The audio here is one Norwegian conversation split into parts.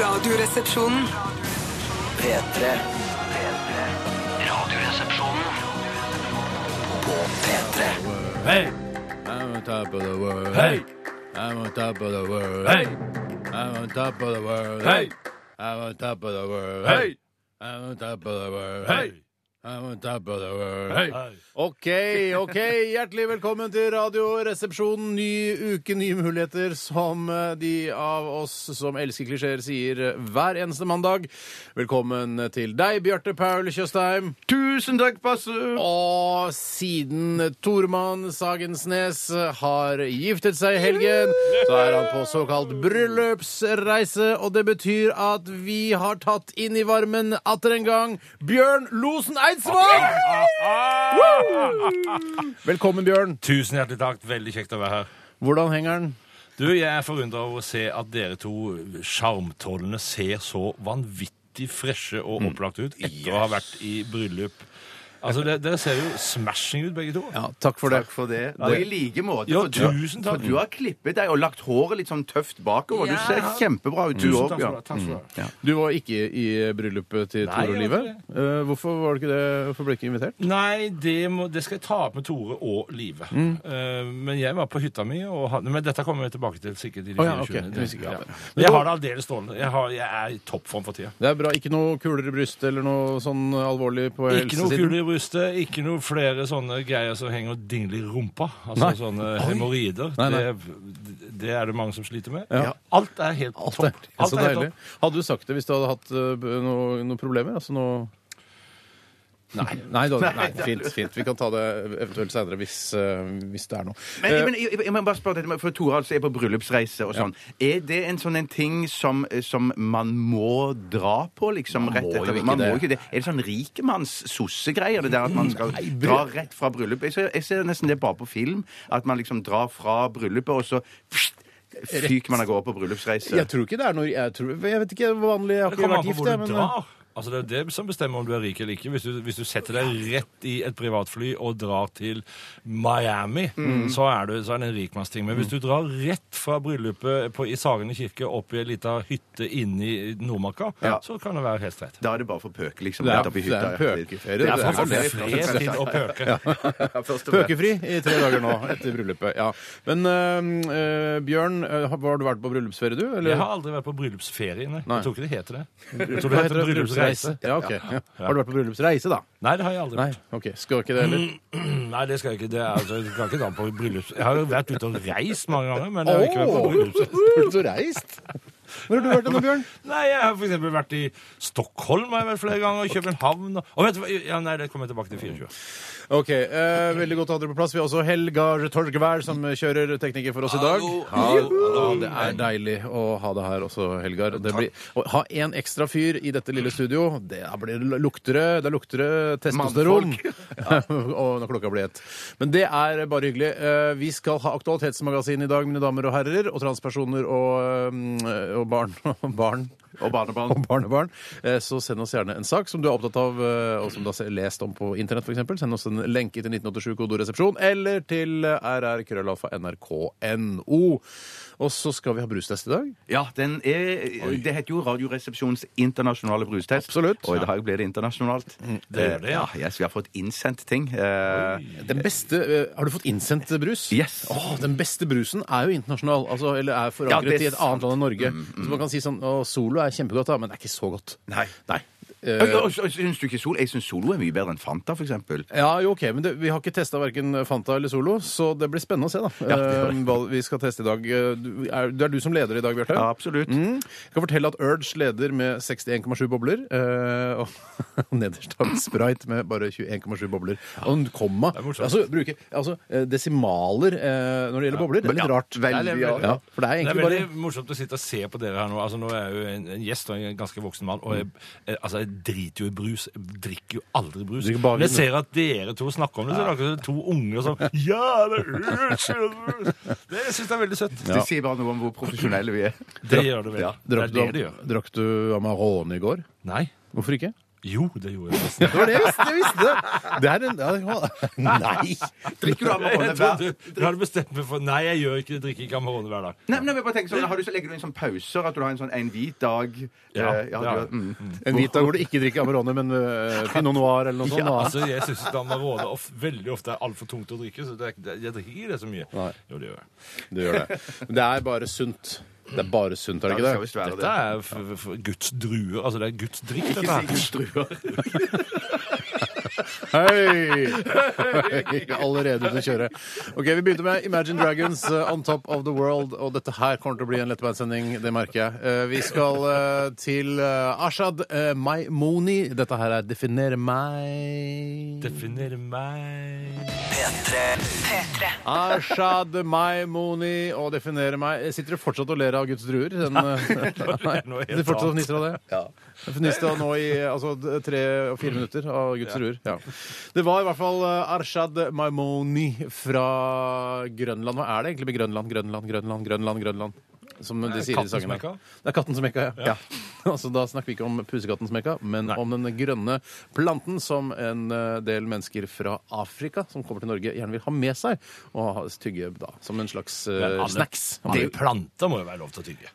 Radioresepsjonen. P3. Radioresepsjonen på P3. Hey, I'm on top of the world. Hey, I'm on top of the world. Hey, I'm on top of the world. Hey, I'm on top of the world. Hey, I'm on top of the world. Hey. I'm on top of the world. Hey. Ok, ok. Hjertelig velkommen til Radioresepsjonen. Ny uke, nye muligheter, som eh, de av oss som elsker klisjeer, sier eh, hver eneste mandag. Velkommen til deg, Bjarte Paul Tjøstheim. Tusen takk, Basse! Og siden Tormann Sagensnes har giftet seg i helgen, så er han på såkalt bryllupsreise, og det betyr at vi har tatt inn i varmen atter en gang Bjørn Losen Eidsvåg! Velkommen, Bjørn. Tusen hjertelig takk. Veldig kjekt å være her. Hvordan henger den? Du, Jeg er forundra over å se at dere to sjarmtrollene ser så vanvittig freshe og opplagt ut etter å ha vært i bryllup. Altså, Dere, dere ser jo smashing ut, begge to. Ja, takk for det. Takk for det. Og i like måte. Ja, for du- tusen takk. For du har klippet deg og lagt håret litt sånn tøft bakover. Du Ja. ser kjempebra ut, du Tusen òg. takk Ja. for det. takk for det. Du var ikke i bryllupet til Nei, Tore jeg var Live. Eh, Hvorfor var du ikke det? Hvorfor ble du ikke invitert? Nei, det, må, det skal jeg ta opp med Tore og Live. Eh, men jeg var på hytta mi og hadde, Men dette kommer vi tilbake til sikkert i de Å ja, 24. ok. Det- Vi skal ikke ha ja. det. Men jeg har det aldeles strålende. Jeg, har, jeg er i toppform for tida. Det er bra. Ikke noe kuler i brystet eller noe sånn alvorlig på Ikke noe helsesiden? kule i brystet, ikke noe flere sånne greier som henger og dingler i rumpa. Altså Nei. sånne hemoroider. Nei, nei. Det, det er det mange som sliter med. Ja. Alt er helt Alt er, topp. det er så deilig. Hadde du sagt det hvis du hadde hatt eh, noe- noen problemer? Altså noe Nei, nei, da, nei fint, fint. Vi kan ta det eventuelt seinere hvis, eh, hvis det er noe. Men, Eh, men jeg, jeg må bare spørre dette, med- for Tore altså er på bryllupsreise og sånn. Er det en sånn en ting som, som man må dra på, liksom? Man rett må jo etter, ikke man det. må jo ikke det. Er det sånn rikemanns-sossegreier, det der at man skal dra rett fra bryllupet? Jeg ser, jeg ser nesten det bare på film, at man liksom drar fra bryllupet, og så pst, fyker man av gårde på bryllupsreise. jeg tror ikke det er noe Jeg, tror, jeg vet ikke vanlig Jeg har Det ikke kommer an vært på gift, hvor jeg. du Men eh, drar. Altså Det er det som bestemmer om du er rik eller ikke. Hvis du, hvis du setter deg rett i et privatfly og drar til Miami, Mm. så, er du, så er det en rikmannsting. Men hvis du drar rett fra bryllupet på, i Sagene kirke opp i ei lita hytte inne i Nordmarka, Ja. så kan det være helt streit. Da er det bare for pøk, liksom. Det er- rett opp i det er hytta, en ja. pøkeferie, Det er det for- er vel det. Fred til å pøke. Pøkefri i tre dager nå etter bryllupet. Ja. Men eh, eh, Bjørn, eh, har har du vært på bryllupsferie, du? Eller? Jeg har aldri vært på bryllupsferie. Nei. Nei. Jeg tror ikke det heter det. Jeg tror Hva det heter heter bryllupsreise. Ja, ok. Ja. Har du vært på bryllupsreise, da? Nei, Mm, det har jeg aldri Nei. gjort. ok, Skal ikke det heller? Nei, det skal jeg ikke. Det er, altså, jeg, kan ikke ta på bryllups. jeg har jo vært ute og reist mange ganger, men jeg har ikke vært på bryllups. Burde du reist? Hvor har du vært nå, Bjørn? Nei, jeg har for eksempel vært i Stockholm har jeg vært flere ganger, og København og, og vet du hva? Ja, Nei, det kommer jeg tilbake til 24. Ok, eh, Veldig godt å ha dere på plass. Vi har også Helgar Torgvær, som kjører tekniker for oss i dag. Ja, det er deilig å ha deg her også, Helgar. Det blir, å ha én ekstra fyr i dette lille studio, det er- blir lukter det da lukter det testosteron. og når klokka blir ett. Men det er bare hyggelig. Eh, vi skal ha Aktualitetsmagasin i dag, mine damer og herrer, og transpersoner og, eh, og barn. Og barn Og barnebarn. og barnebarn, eh, så send oss gjerne en sak som du er opptatt av, eh, og som du har lest om på internett f.eks. Send oss en lenke til 1987 kodoresepsjon, eller til eh, rrkrøllalfa.nrk.no. Og så skal vi ha brustest i dag. Ja, den er, det heter jo Radioresepsjonens internasjonale brustest. Absolutt. Og i dag blir det internasjonalt. Eh, det gjør det, ja. jeg skal ha fått innsendt ting. Eh, Den beste, eh, Har du fått innsendt brus? Yes. Åh, den beste brusen er jo internasjonal, altså, eller er forankret Ja, det Mm, er i et annet land enn Norge. Så man kan si sånn Å, Solo er kjempegodt, da, men det er ikke så godt. Nei. Nei. Oi, oi, oi, Syns du ikke Sol? Jeg syns Solo er mye bedre enn Fanta, for eksempel. Ja, jo, ok, men det, Vi har ikke testa verken Fanta eller Solo, så det blir spennende å se da. eh, hva vi skal teste i dag. Eh, Du, er, det er du som leder i dag, Bjarte. Ja, absolutt. Mm. Jeg kan fortelle at Urge leder med 61,7 bobler. eh, og og nederst har vi Sprite med bare 21,7 bobler. Og en komma. er morsomt. Altså, bruke, altså eh, Desimaler eh, når det gjelder bobler, det er litt Ja, rart. veldig Det er litt- rart. ja, for det er Det er egentlig veldig bare morsomt å sitte og se på dere her nå. Altså, nå er jeg jo en, en gjest og en ganske voksen mann, og jeg, eh, altså, jeg driter jo i brus. Jeg drikker jo aldri brus. Drikker bare Men vin, jeg ser at dere to snakker om det, så er det akkurat som to unger som Ja, det er brus! det er brus!» Det syns jeg er veldig søtt. Det sier bare noe om hvor profesjonelle vi er. Det gjør det vel. Det Drakk er det det du, gjør. drakk du Amarone i går? Nei. Hvorfor ikke? Jo, det gjorde jeg. nesten. Det var det jeg visste! Jeg visste det. det er en, ja, det var- Nei! Drikker du Amarone Jeg hver trodde du hadde bestemt meg for Nei, jeg gjør ikke det. Drikker ikke Amarone hver dag. Nei, men jeg bare tenker sånn, Har du så legger du inn sånn pauser? At du har en sånn en hvit dag? Ja, eh, ja. du har- mm. En hvit dag hvor du ikke drikker Amarone, men øh, Pinot Noir eller noe sånt. da. Altså, Jeg syns Amarone of, veldig ofte er altfor tungt å drikke, så det er, ikke- det- jeg drikker ikke det så mye. Nei. Jo, det gjør jeg. Du gjør det. Men det er bare sunt. Det er bare sunt, er det Ja, ikke skal det? visst være Dette er f f Guds druer. Altså, det er Guds drikk, dette her. Ikke si struer. Hei! Hei! Allerede ute å kjøre. Ok, Vi begynte med Imagine Dragons, eh, On Top of the World. Og dette her kommer til å bli en lettbeinsending, det merker jeg. Eh, Vi skal eh, til eh, Ashad eh, Maimouni. Dette her er Definere meg. Definerer meg P3. Ashad Maimouni og Definere meg. Eh, Sitter du fortsatt og ler av Guds druer? Den, eh, nei, noe helt du fortsatt annet. og fniser av det? Fniste Eh. nå i altså, d- tre og Mm. fire minutter av Guds ruer. Ja. Det var i hvert fall eh, Arshad Maimoni fra Grønland. Hva er det egentlig med Grønland, Grønland, Grønland, Grønland? Grønland? Som de sier i katten de sangene. som mekka. Det er katten som mekka, ja. ja. altså, da snakker vi ikke om pusekatten som mekka, men om den grønne planten som en eh, del mennesker fra Afrika som kommer til Norge, gjerne vil ha med seg og ha tygge da, som en slags eh, Men alle- snacks. Alle planter må jo være lov til å tygge.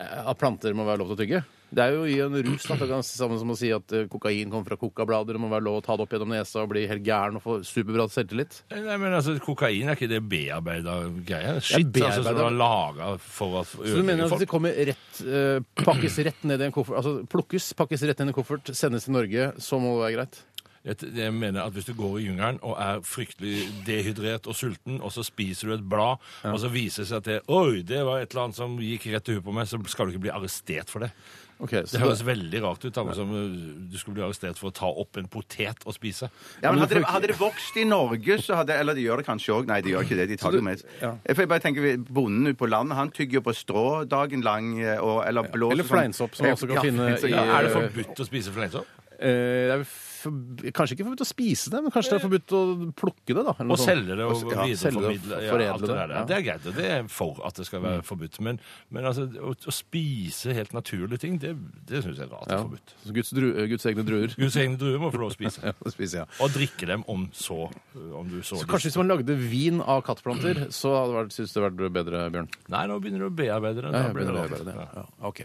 Eh, At planter må være lov til å tygge? Det er jo i en rus. da, Det er ganske samme som å si at eh, kokain kommer fra kokablader. Det må være lov å ta det opp gjennom nesa og bli helt gæren og få superbra selvtillit. Eh, Nei, men altså, Kokain er ikke det bearbeida greia? Shit, altså, som bearbeidet. du har laga for at Så du mener ødelegge at det folk? kommer rett, eh, pakkes rett ned i en koffert, altså plukkes, pakkes rett ned i en koffert, sendes til Norge, så må det være greit? Jeg, jeg mener at Hvis du går i jungelen og er fryktelig dehydrert og sulten, og så spiser du et blad, og så viser det seg at det, Oi, det var et eller annet som gikk rett i huet på meg, så skal du ikke bli arrestert for det. Ok, så Det da- høres veldig rart ut. Akkurat som uh, du skulle bli arrestert for å ta opp en potet og spise. Ja, men hadde, det, hadde det vokst i Norge, så hadde Eller de gjør det kanskje òg. Nei, de gjør ikke det. De tar det jo med. For jeg bare tenker, Bonden ute på landet han tygger jo på strå dagen lang. eh, Og, eller blåser Eller sånn- fleinsopp, som man også kan Ja, finne fleinsopp, i- Ja, ja. er det forbudt å spise fleinsopp? Eh, det er forb- kanskje ikke forbudt å spise det, men kanskje det er forbudt å plukke det, da? eller noe Og sånt. selge det og sånn- ja, selge det og videreformidle. Ja, foredle alt det, det, der. ja. Mm. det er greit, og det er for at det skal være forbudt. Men, men altså, å, å spise helt naturlige ting, det, det syns jeg er rart Ja. er forbudt. Så Guds, dru, eh, Guds egne druer. Guds egne druer må få lov å spise. Det spiser jeg. Og drikke dem om så eh, om du så, Mm. Så lyst. kanskje hvis man lagde vin av kattplanter, så hadde det vært, synes det hadde vært bedre, Bjørn? Nei, nå begynner du å bearbeide det. Ja, Da jeg blir det begynner å rart. gjøre det, Ja. ja. Ok.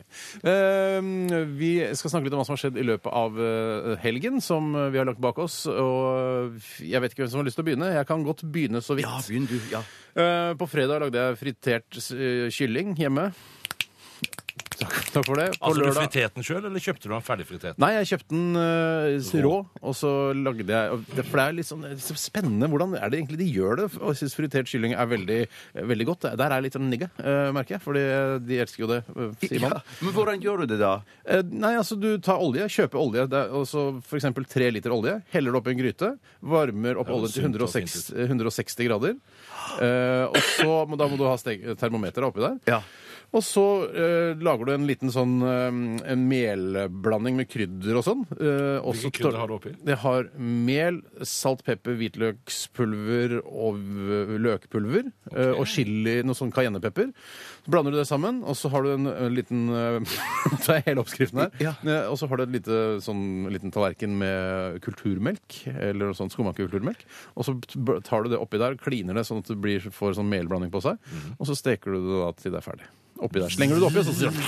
Ehm, vi skal snakke litt om hva som har skjedd i løpet av eh, helgen som vi har lagt bak oss. Og eh, jeg vet ikke hvem som har lyst til å begynne. Jeg kan godt begynne så vidt. Ja, begynn du. Ja. Eh, på fredag lagde jeg fritert eh, kylling hjemme. Takk, takk for det. På Altså, du lørdag friterte den sjøl, eller kjøpte du den ferdigfritert? Nei, jeg kjøpte den eh, rå, og så lagde jeg og det- For det er litt sånn det er så spennende hvordan er det egentlig de gjør det. Og jeg syns fritert kylling er veldig, veldig godt. Der er jeg litt sånn nigga, eh, merker jeg. Fordi de elsker jo det, eh, sier man. Ja. Men hvordan gjør du det, da? Eh, Nei, altså du tar olje, kjøper olje, det er altså for eksempel tre liter olje, heller det opp i en gryte, varmer opp Det er jo oljen til sunt og 106, fint 160 grader, eh, og så må, da må du ha steg, termometer oppi der, Ja. og så eh, lager du en liten sånn, eh, en melblanding med krydder og sånn. Eh, og så Hvilke tar- krydder har du oppi? Det har mel, salt, pepper, hvitløkspulver og v- løkpulver, eh, og chili, noe sånn cayennepepper. Så blander du det sammen, og så har du en, en liten eh, Det er hele oppskriften her. Eh, Og så har du en lite, sånn, en liten tallerken med kulturmelk, eller noe sånt skummakulturmelk. Og så b- tar du det oppi der, kliner det sånn at det blir, får sånn melblanding på seg. Og så steker du det da til det er ferdig. Oppi der. Slenger du det oppi, og så sier du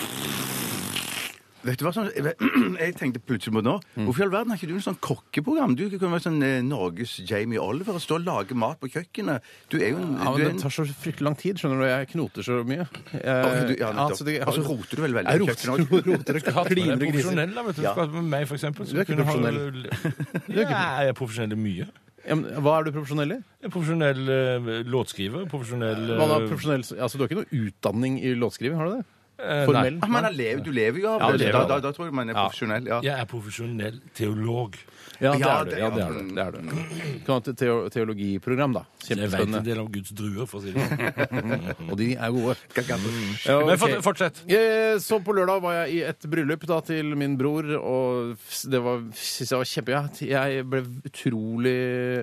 Vet du hva som jeg, jeg tenkte plutselig på nå? Mm. Hvorfor i all verden har ikke du noe sånn kokkeprogram? Du kunne vært sånn eh, Norges Jamie Oliver og stå og lage mat på kjøkkenet. Du er jo en Ja, du er men en- det tar så fryktelig lang tid, skjønner du. Jeg knoter så mye. Jeg, Å, du- ja, nettopp. altså, det- Og så roter du vel veldig Jeg i roter, kjøkkenet roter, roter, Men kliner jeg og er griser. profesjonell, da, vet du. Ja. Skal du med meg, for eksempel. så Du er ikke kunne Ha... Ja, jeg er profesjonell i mye. Ja, men Hva er du profesjonell i? Jeg er profesjonell eh, låtskriver. Profesjonell eh, Hva da, profesjonell? Altså, du har ikke noe utdanning i låtskriving, har du det? eh, nei. Formell? Ah, men han lever, du lever jo av Ja, det. du lever Da, av da, det. da tror jeg man er profesjonell. Ja. Jeg er profesjonell teolog. Ja, det Ja, er du. det- Ja, det er du. Det er du. Du kan ha et teo teologiprogram, da. Jeg vet en Kjempespennende. del om Guds druer, for å si det sånn. Og de er gode. Ja, Men ok. fort- fortsett. Eh, Så på lørdag var jeg i et bryllup da, til min bror, og f- det var, synes jeg var kjempegøy. Jeg ble utrolig,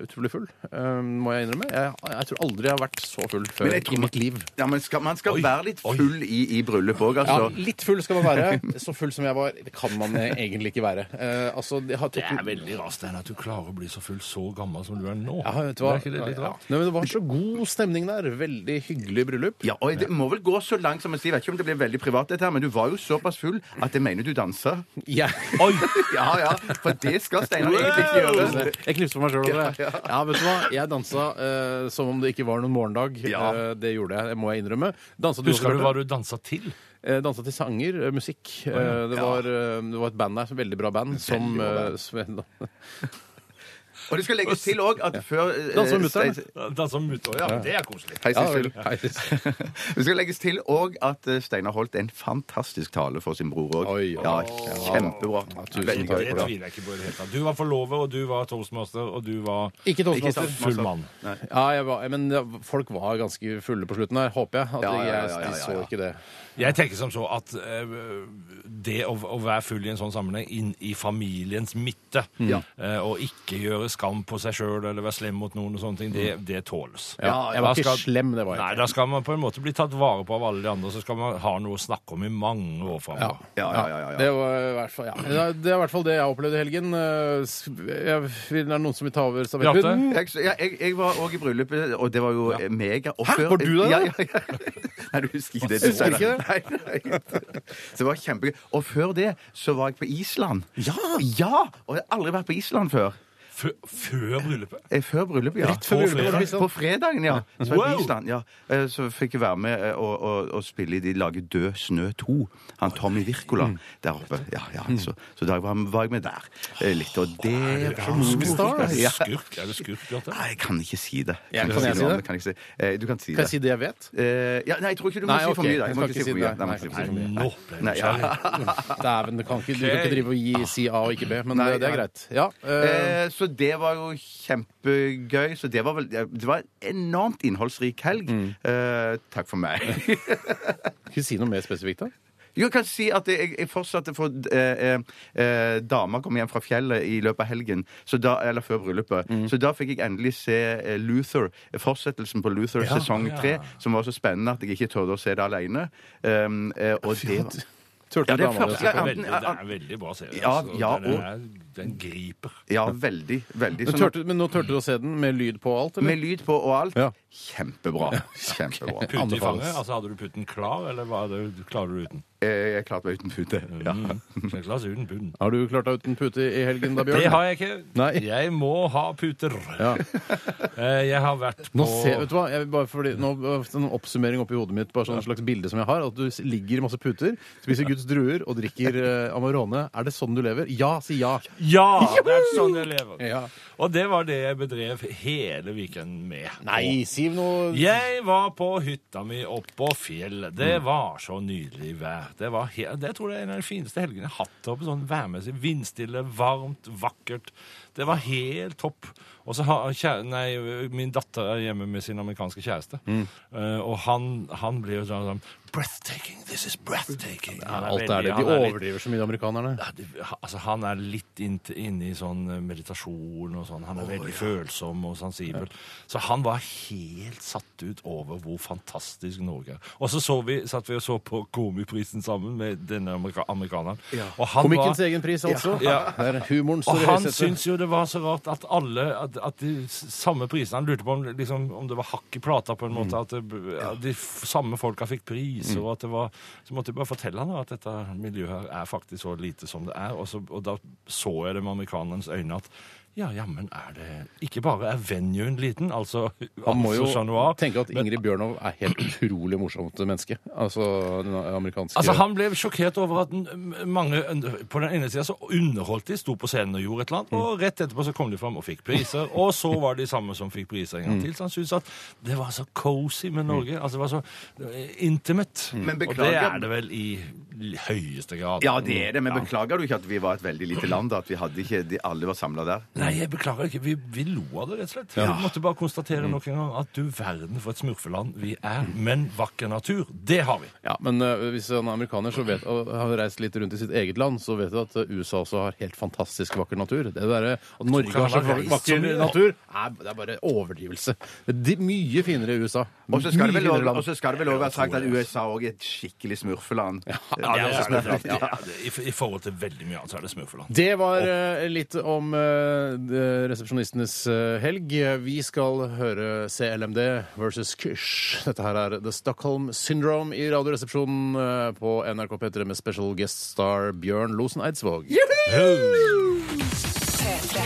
utrolig full, eh, må jeg innrømme. Jeg, jeg tror aldri jeg har vært så full før Men jeg tror i man- mitt liv. Ja, men skal, man skal Oi, være litt oi. full i, i bryllup òg, Ja, altså. litt full skal man være. Så full som jeg var, det kan man egentlig ikke være. Eh, altså, det har Det er tok... veldig rart, Stein, at du klarer å bli så full så gammel som du er nå. Ja, vet du hva? Er ikke det litt Ja. rart? Nei, men det var så god stemning der. Veldig hyggelig bryllup. Ja, og Det må vel gå så langt som å si, jeg vet ikke om det blir veldig privat, dette her, men du var jo såpass full at jeg mener du dansa. Ja. Oi! Ja, ja, for det skal Steinar egentlig ikke gjøre. Jeg knipser meg sjøl over det. Ja, vet du hva? Jeg dansa eh, som om det ikke var noen morgendag. Ja. Eh, det gjorde jeg, det må jeg innrømme. Dansa du Husker også, du hva Bjarte? du dansa til? Eh, dansa til sanger, eh, musikk. Eh, det, var, eh, det var et band der, veldig bra band, som eh, Sven Og det skal legges til òg at før eh, Dansa med mutter'n. Stein- Dansa mutter, ja. Det er koselig. Hei, Sissel. Ja, hei, Sissel. Det skal legges til òg at eh, Steinar holdt en fantastisk tale for sin bror òg. Oi, Ja, ja. kjempebra. tusen Det bra. takk. tviler jeg ikke på i det hele tatt. Du var forlover, og du var toastmaster, og du var Ikke toastmaster. sant. full mann. Ja, jeg var, men ja, folk var ganske fulle på slutten her, håper jeg. At Ja, ja, ja, ja, jeg- de ja, så ja. ikke det. Jeg tenker som så at eh, det å, å være full i en sånn sammenheng, inn i familiens midte, Mm. eh, og ikke gjøre skam på seg sjøl eller være slem mot noen og sånne ting, Mm. det, det tåles. Ja, jeg Da var ikke skal- slem, det var jeg Nei, da skal man på en måte bli tatt vare på av alle de andre, så skal man ha noe å snakke om i mange år framover. Ja, ja, ja, ja, ja. Det var i hvert fall, ja. Det er- Det er i hvert fall det jeg opplevde i helgen. Eh, s- Jeg, vil- er det noen som vil ta over stafettpinnen? Jeg, ja, jeg, jeg var òg i bryllupet, og det var jo eh, mega opphør. Var du der, Ja, da? ja, ja. Nei, du husker ikke det. dessverre. Husker ikke det? Nei, nei. Så det var kjempegøy. Og før det så var jeg på Island. Ja! Og jeg har aldri vært på Island før. Før, før bryllupet? Eh, Før bryllupet, ja. før bryllupet var det på Island? På fredagen, ja. Så, var jeg på Wow! Island, ja. Eh, så fikk jeg være med eh, og, og, og spille i De lager Død snø 2. Han Tommy Wirkola der oppe. Ja, ja. Så, så da var var jeg med der eh, litt. Og det var skurk, Er du Ja. skurk? Er du skurk, Bjarte? Nei, jeg kan ikke si det. Ja, ikke kan jeg noe si om det? Kan jeg ikke si. Eh, Du kan si Kan jeg det. si det jeg vet? Eh, ja, nei, jeg tror ikke du må Nei, si for mye. ok, da. jeg Jeg må ikke skal si for mye. Nei, man kan ikke si for mye. Nå ble jeg Nei, ja. nysgjerrig. Dæven, du kan ikke, du kan Ok. ikke drive og gi, si A og ikke B, men Nei, det, det er ja. greit. Ja, eh, Eh, Så det var jo kjempegøy. Så det var vel Det var en enormt innholdsrik helg. Mm. Eh, takk for meg. skal vi si noe mer spesifikt, da? Jo, jeg kan si at jeg, jeg fortsatte for eh, eh, Dama kom hjem fra fjellet i løpet av helgen, så da, eller før bryllupet. Mm. Så da fikk jeg endelig se eh, Luther, fortsettelsen på Luther sesong tre, som var så spennende at jeg ikke tørde å se det alene. Um, eh, og det var Ja, Turte det er dama di å første- si det? ja, Veldig, det er en veldig bra serie. Ja, altså. ja, den, og- er, den griper. Ja, veldig, veldig. Men Sånn- tørte- Men nå turte du å se den med lyd på og alt, eller? med lyd på og alt. Ja. Kjempebra. Kjempebra. Pute i Anbefales. fanget? Altså, hadde du puten klar, eller var det, klarer du uten? Eh, Jeg klarte meg uten pute. Ja. Men Mm. glass uten bunn. Har du klart deg uten pute i helgen, da, Bjørn? Det har jeg ikke. Nei. Jeg må ha puter. Ja. Eh, Jeg har vært på Nå ser, vet du hva, jeg, vil bare fordi, nå, En oppsummering oppi hodet mitt, bare sånn slags bilde som jeg har. At du s- ligger i masse puter, spiser Guds druer og drikker eh, Amarone. Er det sånn du lever? Ja, si ja. Ja! Det er sånn jeg lever. Ja. Og det var det jeg bedrev hele weekenden med. Nei, Siv noe Jeg var på hytta mi oppå fjellet. Mm. Det var så nydelig vær. Det var he det tror jeg er en av de fineste helgene jeg har hatt der oppe, sånn værmessig. Vindstille, varmt, vakkert. Det var helt topp. Og så har kjære, nei, min datter er hjemme med sin amerikanske kjæreste, Mm. Eh, og han, han blir jo sånn sånn, Breathtaking! This is breathtaking! Han Alt veldig- er det. han De er litt- overdriver så mye, de amerikanerne. ja, det, altså, han er litt inn- inne i sånn eh, meditasjon og sånn. Han er veldig følsom og sensibel. Så han var helt satt ut over hvor fantastisk Norge er. Og så, så vi, satt vi og så på Komiprisen sammen med denne amerika amerikaneren. Og han Komikkens var- egen pris, altså. Ja. Der humoren og står i han høysetet. syntes jo det var så rart at alle At, at de s- samme prisene Han lurte på om, liksom, om det var hakk i plata, på en måte. Mm. At, det, at de f samme folka fikk pris, og at det var Så måtte jeg bare fortelle han da, at dette miljøet her er faktisk så lite som det er. Og, så, og da så jeg det med amerikanerens øyne at ja, jammen er det Ikke bare er venuen liten, altså Han må jo altså Chat Noir, tenke at men- Ingrid Bjørnov er helt utrolig morsomt menneske. Altså den amerikanske Altså, han ble sjokkert over at n- mange under- På den ene sida så underholdt de, sto på scenen og gjorde et eller annet, og rett etterpå så kom de fram og fikk priser. Og så var de samme som fikk priser en gang til. Så han syntes at det var så cozy med Norge. Altså, det var så eh, intimate. Men Og det beklager- er det vel i l- høyeste grad. Ja, det er det, men beklager du ikke at vi var et veldig lite land, da? At vi hadde ikke de, alle var samla der? Nei, Nei, jeg beklager ikke. Vi, vi lo av det, rett og slett. Vi måtte bare Mm. konstatere nok en gang at du verden for et smurfeland vi er. Men vakker natur, det har vi. Ja, men eh, hvis han er amerikaner så vet, og har reist litt rundt i sitt eget land, så vet du at eh, USA også har helt fantastisk vakker natur. Det derre at Norge han har så har reist så vakker mye, da. natur, er, det er bare overdrivelse. Det er mye finere i USA. Og så skal det Mye vel finere lov- land. og så skal det vel også være sagt at USA òg er et skikkelig smurfeland. Ja, Det er smurfeland. smurfeland. Ja, det- I, I forhold til veldig mye annet så er det smurfeland. Det var eh, litt om eh, de- resepsjonistenes eh, helg. Vi skal høre CLMD versus Kysh. Dette her er The Stockholm Syndrome i Radioresepsjonen eh, på NRK P3 med special guest star Bjørn Losen Eidsvåg. P3.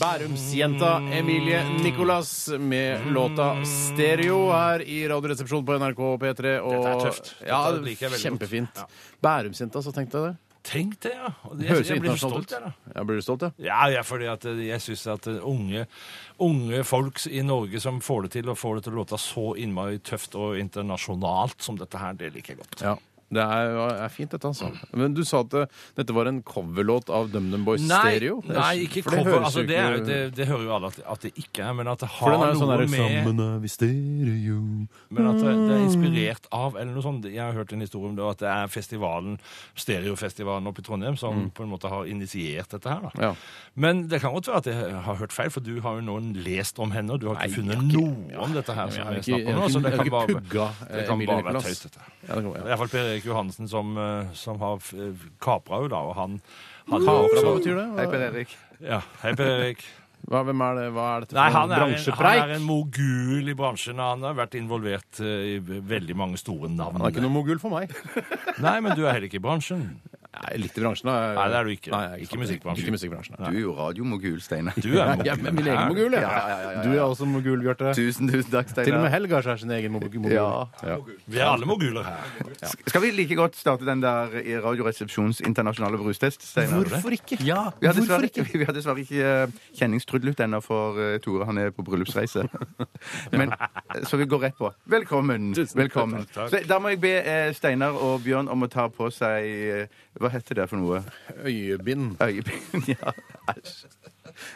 Bærumsjenta Emilie Nicolas med låta Stereo her i Radioresepsjonen på NRK P3. Og, Dette er tøft. Dette Ja, liker jeg veldig godt. kjempefint. Ja. Bærumsjenta, så tenkte jeg det. Tenk det, ja. Og det- Høres jeg blir internasjonalt stolt, ut. jeg, da. Ja, blir du stolt, ja? Ja, ja, fordi at eh, jeg syns at eh, unge, unge folk i Norge som får det til, og får det til å låte så innmari tøft og internasjonalt som dette her, det liker jeg godt. Ja. Det er, er fint, dette, altså. Men du sa at eh, dette var en coverlåt av DumDum Boys Nei, Stereo? Det er- nei, ikke for det cover. høres Altså, jo det, er, ikke- det, det hører jo alle at, at det ikke er, men at det For har den er jo noe sånn der, med Sammen er vi stereo Men at det, det er inspirert av, eller noe sånt. Jeg har hørt en historie om det, at det er festivalen, stereofestivalen oppe i Trondheim som på en måte har initiert dette her. da. Mm. Ja. Men det kan godt være at jeg har hørt feil, for du har jo nå lest om henne, og du har ikke funnet noe om dette her. jeg som har ikke- jeg snakker jeg om har nå, så ikke- det jeg har kan bare, ikke pugga, eh, det kan Emilie bare være Nicolas. tøys, dette. Ja, det kan være. I hvert fall Per Erik Johansen som, eh, som har eh, kapra jo da, og han, han har Kapra, hva også betyr det? Hei, Per Hva, Erik. Ja, hei Per Erik. hva, hvem er det? Hva er dette for Nei, han en er, en, han bransjepreik? er en mogul i bransjen. og Han har vært involvert eh, i veldig mange store navn. Han er ikke noe mogul for meg. Nei, men du er heller ikke i bransjen. Nei, litt i bransjen, da. Nei, det er du ikke. Nei, jeg er Ikke musikkbransjen. Ikke musikkbransjen, Du nei. er jo radiomogul, Steinar. Du er Jeg er min egen mogul, Ja, ja, ja, ja, ja. ja. Du er også mogul, Bjarte. Tusen, tusen takk, Til og Steinar. med Helga er sin egen mogul. Ja. Ja. Vi er alle moguler her. Sk- Skal vi like godt starte den der i Radioresepsjonens internasjonale brustest, Steinar? Hvorfor ikke? Ja, Vi har dessverre hvorfor ikke, ikke? vi har dessverre ikke eh, kjenningstrudlet ennå, for eh, Tore han er på bryllupsreise. Men, eh, så vi går rett på. Velkommen. Velkommen. Så, da må jeg be eh, Steinar og Bjørn om å ta på seg eh, Hva heter det for noe? Øyebind. Øyebind? Ja, æsj.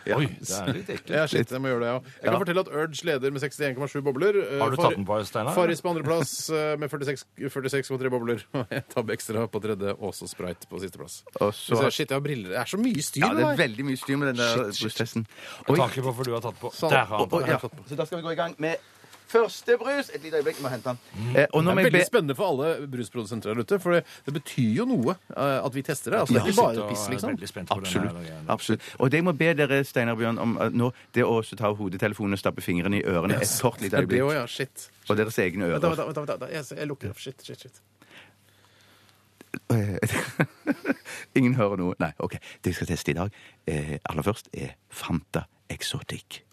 Ja. Oi, det er litt ekkelt. Ja, shit, jeg må gjøre det, ja. Jeg kan fortelle at Urge leder med 61,7 bobler. Eh, Har du Far- tatt den på, Steinar? Farris på andreplass eh, med 46 46,3 bobler. Og jeg tabbe ekstra på tredje, og så sprite på sisteplass. Og så- Så, Shit, jeg har briller. Det er så mye styr Ja, det er med deg. veldig mye styr med den der brustesten. Jeg tar ikke på for du har tatt på. Sånn. Der har han Og, tatt ja. den. Så da skal vi gå i gang med første brus. Et lite øyeblikk, jeg må hente den. Eh, og nå Det må Mm. er jeg be veldig spennende for alle brusprodusenter der ute, for det, det betyr jo noe eh, at vi tester det. Altså, det er ikke Jeg bare piss, er liksom. Veldig spent på Absolutt. den her. greien. absolutt. Og det jeg må be dere, Steinar og Bjørn, om eh, nå, det å også ta hodetelefonen og stappe fingrene i ørene et kort Det lite er det øyeblikk. også, ja. Shit. Og deres egne Vent, da, ører. vent, da, vent, da, vent, da. Jeg, jeg lukker opp. Shit, shit, shit. Ingen hører noe. Nei, OK. Det jeg skal teste i dag, eh, aller først, er Fanta Exotic.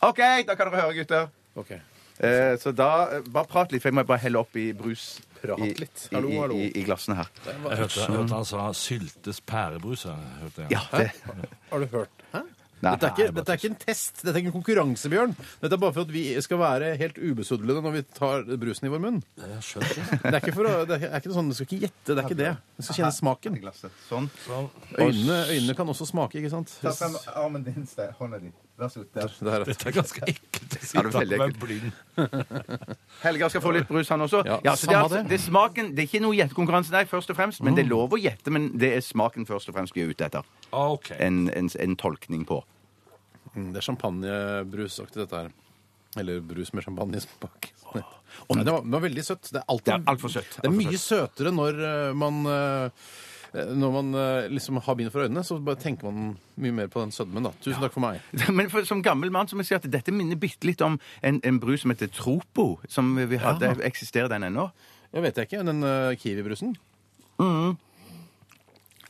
OK, da kan dere høre, gutter. OK. Eh, så da eh, Bare prat litt, for jeg må bare helle opp i brus. Prat i, litt. i- Hallo, hallo. I, i, i glassene her. Jeg hørte, jeg hørte han sa syltes pærebrus. her, Hørte jeg. Ja, det, Har du hørt? Hæ? nei, Dette er, ikke, dette er ikke en test, dette er ikke en konkurranse, Bjørn. Dette er bare for at vi skal være helt ubesudlede når vi tar brusen i vår munn. Ja, jeg skjønte det. Det er ikke, for å, det er ikke noe sånn, Du skal ikke gjette, det er ikke det. Du skal kjenne smaken. glasset. Sånn. Sånn. Øynene, øynene kan også smake, ikke sant? Ta frem armen din, Stein. Hånda di. Vær så god. Der. Det her, Dette er ganske ekkelt. å si. Ja, det er veldig Takk, men blind. Helga skal få litt brus, han også. Ja, så det, er, samme altså- det. Mm. det er smaken, det er ikke noe gjettekonkurranse, nei, først og fremst. Men det er lov å gjette, men det er smaken først og fremst vi er ute etter. Ah, OK. En, en, en tolkning på. mm, det er champagnebrusaktig, dette her. Eller brus med champagnesmak. Nei, det, var, det var veldig søtt. Det er, alltid, Det er alt for søtt. Det er Alt for mye søtere når eh, man eh, når man eh, liksom har bind for øynene, så bare tenker man mye mer på den sødmen. da. Tusen takk for meg. Men for, som gammel mann så må jeg si at dette minner bitte litt om en, en brus som heter Tropo. Som vi hadde. Eksisterer den ennå? Jeg vet jeg ikke, Den eh, kiwi-brusen.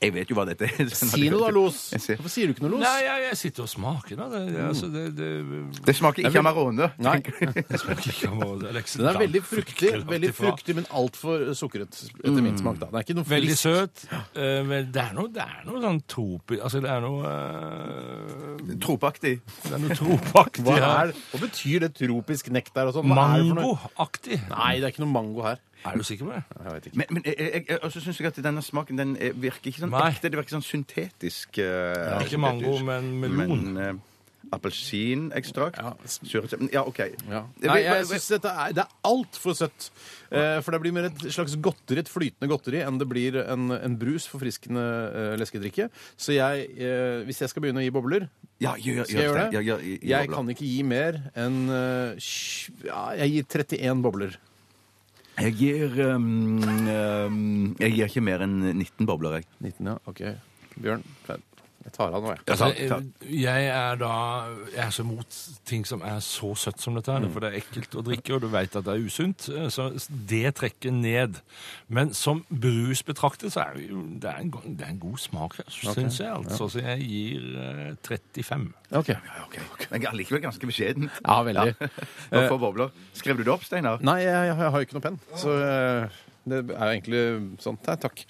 Jeg vet jo hva dette er. Si noe da, Los. Jeg ser- Hvorfor sier du ikke noe, Los? Nei, jeg, jeg sitter og smaker da. Det, det, Mm. altså, det, det, Det smaker ikke Amarone. Nei. jeg smaker ikke om å- det er liksom ikke så Den er langt- veldig fruktig, langt veldig ifra. fruktig men altfor sukret, etter min smak. da. Den er ikke noe Veldig frisk. søt. Eh, men det er noe, det er noe sånn tropi... Altså, det er noe eh, Tropaktig. Det er noe tropaktig Hva, her. er, hva betyr det tropisk nektar og sånn? Hva er det for noe? Mangoaktig. Nei, det er ikke noe mango her. Er du sikker på det? Jeg vet ikke. Men, men jeg, jeg, jeg, også syns jeg at denne smaken den eh, virker ikke sånn Nei. ekte. Det virker sånn syntetisk. eh, Ikke mango, men melon. Men eh, appelsinekstrakt. Ja. Surrete- men Ja, OK. Ja. Jeg Nei, vil- jeg syns dette er, det er altfor søtt. Eh, for det blir mer et slags godteri, et flytende godteri, enn det blir en, en brus, forfriskende eh, leskedrikke. Så jeg, eh, hvis jeg skal begynne å gi bobler, Ja, Ah, gjør, gjør, skal jeg gjøre Ja, det. gjør- gjør- Jeg gjør- kan ikke gi mer enn eh, tj- ja, Jeg gir 31 bobler. Jeg gir um, um, Jeg gir ikke mer enn 19 bobler, jeg. 19, ja. OK. Bjørn, jeg tar av nå, jeg. Altså, ta- jeg er da Jeg er så mot ting som er så søtt som dette her, for det er ekkelt å drikke, og du veit at det er usunt. eh, Så det trekker ned. Men som brus betraktet, så er det jo det er en, go- det er en god smak her, syns jeg. Altså. Så jeg gir eh, 35. Ok. Men jeg er allikevel ganske beskjeden. Ja, veldig. Hva for bobler? Skrev du det opp, Steinar? Nei, jeg, jeg, har jo ikke noe penn, så eh, det er jo egentlig sånn. Nei, takk.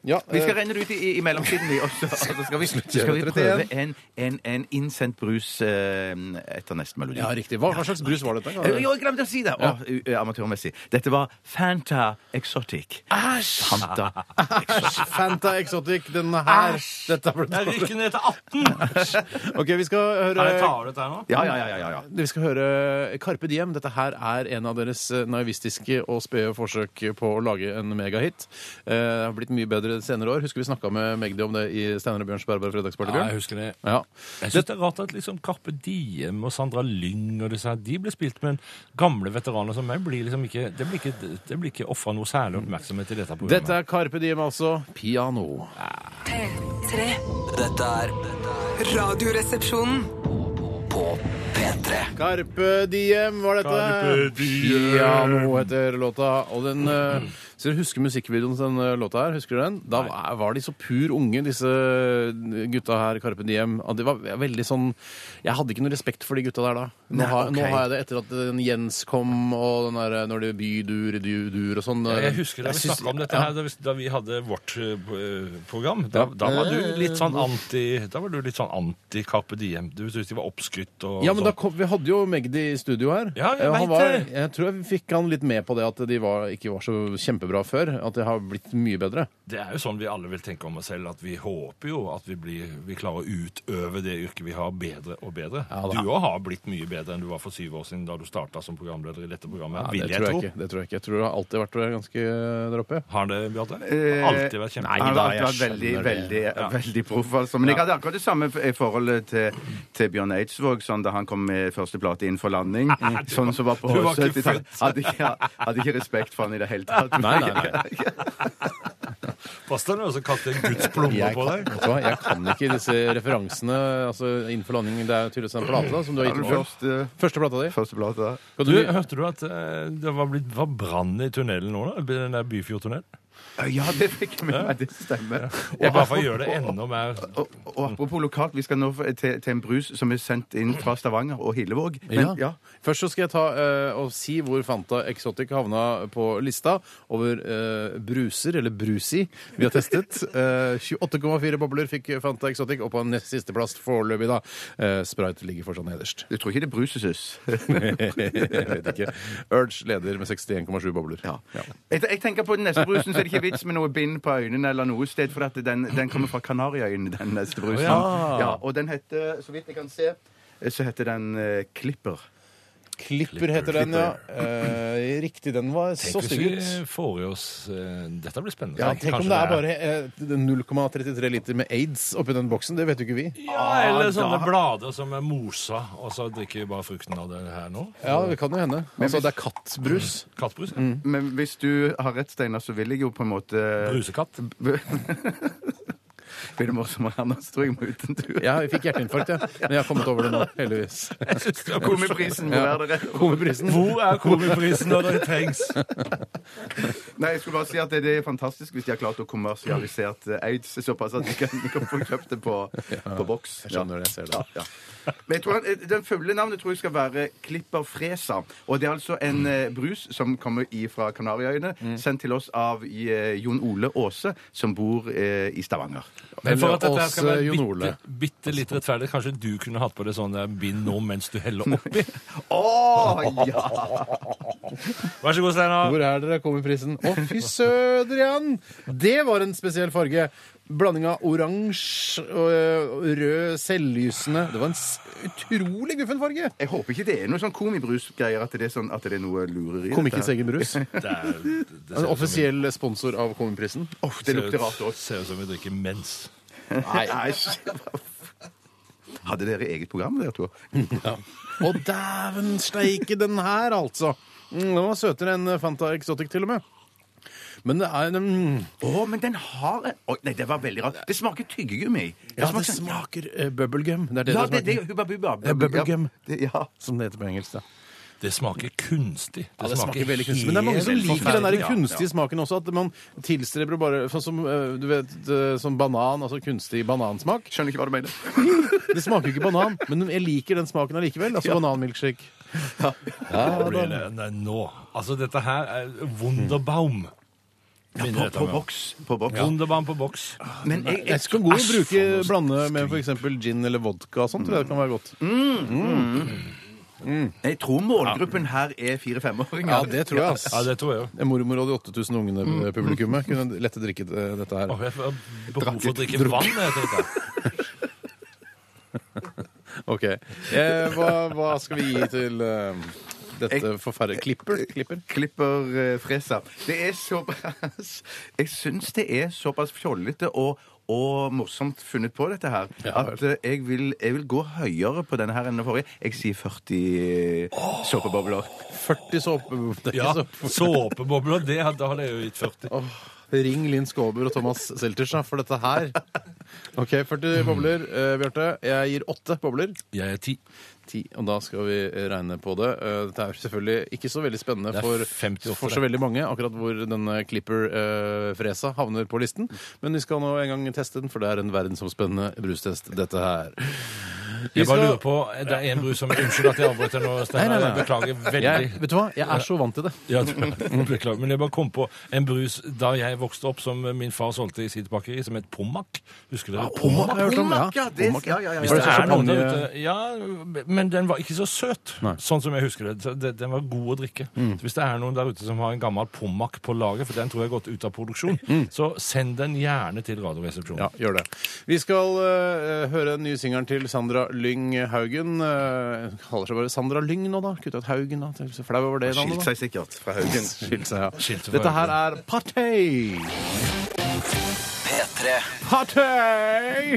Ja, Vi skal eh, regne det ut i, i mellomtiden, vi også. Og så skal vi, så skal vi prøve en, en, en innsendt brus eh, etter neste melodi. ja, riktig. Hva, hva slags brus var dette? Eh, Jo, jeg glemte å si det! Å, u- eh, amatørmessig. Dette var Fanta Exotic. Fanta. Fanta Exotic, den her. Dette ble Jeg rykker ned til 18! Ok, vi skal høre Kan jeg ta av dette her nå? Ja, ja, ja. ja, ja. vi skal høre Carpe Diem. Dette her er en av deres eh, naivistiske og spede forsøk på å lage en megahit. Eh, Det har blitt mye bedre de senere år. Husker vi snakka med Magdi om det i Steinar og Bjørns Bærbare fredagsparty, Ja, jeg Bjørn? husker det. Ja. Jeg synes det er rart at liksom Carpe Diem og Sandra Lyng og disse her, de blir spilt, men gamle veteraner som meg blir liksom ikke Det blir ikke, det blir ikke ofra noe særlig oppmerksomhet i dette programmet. Dette er Carpe Diem, altså. Piano. P3. Dette er dette er Radioresepsjonen. på P3. Carpe Diem var dette. Carpe Diem. Piano heter låta. Og den eh, Så dere husker musikkvideoen til den eh, låta her? Husker du den? Da var- var de så pur unge, disse eh, gutta her, Carpe Diem. Og Det var veldig sånn Jeg hadde ikke noe respekt for de gutta der da. Nå, Nei, har, ok. nå har jeg det etter at den Jens kom, og den der eh, når det bydur, dydur og sånn. eh, Jeg husker da vi syns- snakka om dette ja. her da vi, da vi hadde vårt eh, p- program. Da, Ja. Eh, da var du litt sånn anti Da var du litt sånn anti Carpe Diem. Du syntes de var oppskrytt og Ja, men da sånn. kom, Vi hadde jo Magdi i studio her. Ja, jeg Eh, han vet var, det. jeg tror jeg fikk han litt med på det at de var, ikke var så kjempebra før. At det har blitt mye bedre. Det er jo sånn vi alle vil tenke om oss selv, at vi håper jo at vi, blir, vi klarer å utøve det yrket vi har, bedre og bedre. Ja, da. du òg har blitt mye bedre enn du var for syv år siden da du starta som programleder i dette programmet. Ja, vil det, jeg, tror jeg tro. ikke. det tror jeg ikke. Jeg tror det har alltid vært ganske der oppe. Har det, Bjarte? Eh, Har Alltid vært kjempe... Han da, var, jeg var veldig, skjønner det. veldig, veldig proff, altså. Men jeg hadde akkurat det samme f- forholdet til, til Bjørn Eidsvåg sånn, da han kom med første plate inn for landing. Sånn som var på du var ikke 70-tallet. Hadde, ikke- hadde ikke respekt for han i det hele tatt. Pass deg nå, så kaster jeg Guds plomme Jeg på kan, deg. vet du hva? jeg kan ikke disse referansene altså innenfor landing. Det er jo tydeligvis en plate da, som du har Ja, gitt den meg. Bjørn. første, Første plata di. første plata. Skal Du, du, hørte du at eh, det var, blitt, var brann i tunnelen nå, da? Den der Byfjordtunnelen? Ja, det fikk jeg med meg. Det stemmer. Og bare for å gjøre det enda mer Og, og apropos lokalt, vi skal nå f- til, til en brus som er sendt inn fra Stavanger og Hillevåg. ja. Men, ja. Først så skal jeg ta eh, og si hvor Fanta Exotic havna på lista over eh, bruser, eller brusi, vi har testet. Eh, 28,4 bobler fikk Fanta Exotic, og på nest siste plass foreløpig, da. Eh, Sprite ligger fortsatt nederst. Jeg tror ikke det er brusesus. jeg vet ikke. Urge leder med 61,7 bobler. Ja. Jeg, jeg tenker på den neste brusen, så er det ikke vits med noe bind på øynene eller noe sted, for at den, den kommer fra Kanariøyene, den neste brusen. Ja. Ja, og den heter, så vidt jeg kan se, så heter den eh, Klipper. Klipper heter den, ja. Eh, riktig, den var så Tenk hvis stygg vi ut. får i oss eh, Dette blir spennende. Ja, tenk om Kanskje det er bare eh, 0,33 liter med aids oppi den boksen. Det vet jo ikke vi. Ja, eller sånne blader som er mosa, og så drikker vi bare frukten av det her nå. Ja, det kan jo hende. Altså, det er kattbrus. Kattbrus? Mm. Men hvis du har rett, Steinar, så vil jeg jo på en måte Brusekatt? Blir det morsommere her nå, så tror jeg jeg må ut en tur. Ja, jeg fikk hjerteinfarkt, jeg. Men jeg har kommet over det nå, heldigvis. Komiprisen må være der. Komiprisen. Hvor er komiprisen når det trengs? Nei, jeg skulle bare si at det, det er fantastisk hvis de har klart å kommersialisere aids såpass at de kan, de kan få kjøpt det på, på boks. Jeg skjønner det, jeg ser det. Ja. Men jeg tror han, Den fulle navnet tror jeg skal være Klipper Fresa. Og det er altså en eh, brus som kommer ifra Mm. Kanariøyene, sendt til oss av eh, Jon Ole Aase, som bor eh, i Stavanger. Men for Eller at dette her oss, skal være Jon Ole. bitte, bitte litt rettferdig, kanskje du kunne hatt på det sånn der bind nå mens du heller oppi. Å, ja! Vær så god, Steinar. Hvor er dere? Kommer prisen? Å, fy søder igjen! Det var en spesiell farge. Blanding av oransje og ø, rød, selvlysende Det var en s- utrolig guffen farge! Jeg håper ikke det er noe sånn komibrusgreier, at det er sånn at det er noe lureri. i Komikers dette her. egen brus. Det er- det ser ut som En vi- offisiell sponsor av Kongeprisen. Uff, det lukter rart også. Ser ut som vi drikker mens. Nei. shit. Hadde dere eget program, dere to? Å, dæven steike, den her, altså! Mm, Den var søtere enn Fanta Exotic, til og med. Men det er en mm, Å, men den har en Oi, Nei, det var veldig rart. Det smaker tyggegummi. Ja, det smaker ø, bubblegum. Det er det Ja, det det, det smaker. er Hubba Bubba. Ja, bubble gum. Ja, det- ja. Som det heter på engelsk. Da. Det smaker kunstig. Ja, det smaker veldig kunstig. Men det er mange som helt liker den der forferdelig, ja. kunstige smaken også. At man tilstreber bare sånn som, eh, du vet, eh, som banan, altså kunstig banansmak. Skjønner ikke hva du mener. Det smaker jo ikke banan, men jeg liker den smaken allikevel. Altså bananmilkshake. Ja, blir det- Nei, nå. Altså, dette her er Wunderbaum. Minner dette På meg om. boks. På boks. Wunderbaum på boks. Men jeg, Jeg jeg, skal gå og bruke blande med f.eks. gin eller vodka og sånt, tror jeg det kan være godt. jeg tror målgruppen her er fire-femåringer. Ja, det tror jeg, Ja, ass. det tror jeg jo. Mormor og de 8000 ungene-publikummet kunne lette drikket eh, dette her. Åh, Jeg får behov for å drikke vann. Jeg tenkte. OK. Eh, hva, hva skal vi gi til eh, dette forferdelige Klipper? Klipper? klipper eh, fresa. Det er såpass Jeg syns det er såpass fjollete og og morsomt funnet på dette her. at eh, jeg vil, jeg vil gå høyere på denne her enn den forrige. Jeg sier 40 såpebobler. 40 såpe... Det er Ja, ikke så såpebobler, det hadde, hadde jeg jo gitt 40. Åh, ring Linn Skåber og Thomas Selters da, for dette her. OK, 40 bobler, eh, Bjarte. Jeg gir 8 bobler. Jeg er ti. 10, og da skal vi regne på det. Eh, Dette er selvfølgelig ikke så veldig spennende Det er for, 58, for så det. veldig mange, akkurat hvor denne Clipper-fresa havner på listen. Men vi skal nå en gang teste den, for det er en verdensomspennende brustest, dette her. Vi Jeg bare skal- lurer på, Det er en brus som Unnskyld at jeg avbryter nå, Nei, Steinar. nei, Jeg nei. beklager Jeg, veldig. vet du hva? Jeg er så vant til det. Ja, beklager, men jeg bare kom på en brus da jeg vokste opp, som min far solgte i sitt bakeri, som het Pommac. Husker dere? Pommac har jeg hørt om, ja. Pommac, ja, det- Pommac, ja, ja, ja, ja. Hvis det Ah, Var er noen der champagne- ute Ja, men den var ikke så søt, sånn som jeg husker det. Så det- Den var god å drikke. Mm. Så Hvis det er noen der ute som har en gammel Pommac på lager, for den tror jeg har gått ut av produksjon, så send den gjerne til Radioresepsjonen. Mm. Ja, gjør det. Vi skal eh, høre den nye singelen til Sandra Lyng Haugen. Uh, kaller seg bare Sandra Lyng nå, da. Kutta ut Haugen, da. Jeg er Så flau over det Skilt navnet, da. seg sikkert fra Haugen. Skilt seg, ja. Skilt seg fra Dette her er Partey! P3. Partey!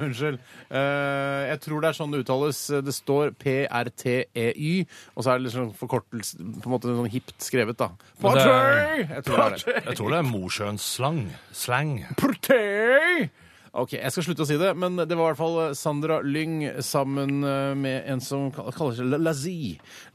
Unnskyld. Eh, jeg tror det er sånn det uttales. Det står PRTEY, E og så er det litt sånn forkortelse På en måte sånn hipt skrevet, da. Men det Partey! er- Jeg tror det er det. Jeg tror det er Mosjøen-slang. Slang. Partey! Ok, Jeg skal slutte å si det, men det var i hvert fall eh, Sandra Lyng sammen eh, med en som kall- kaller seg La- Lazi.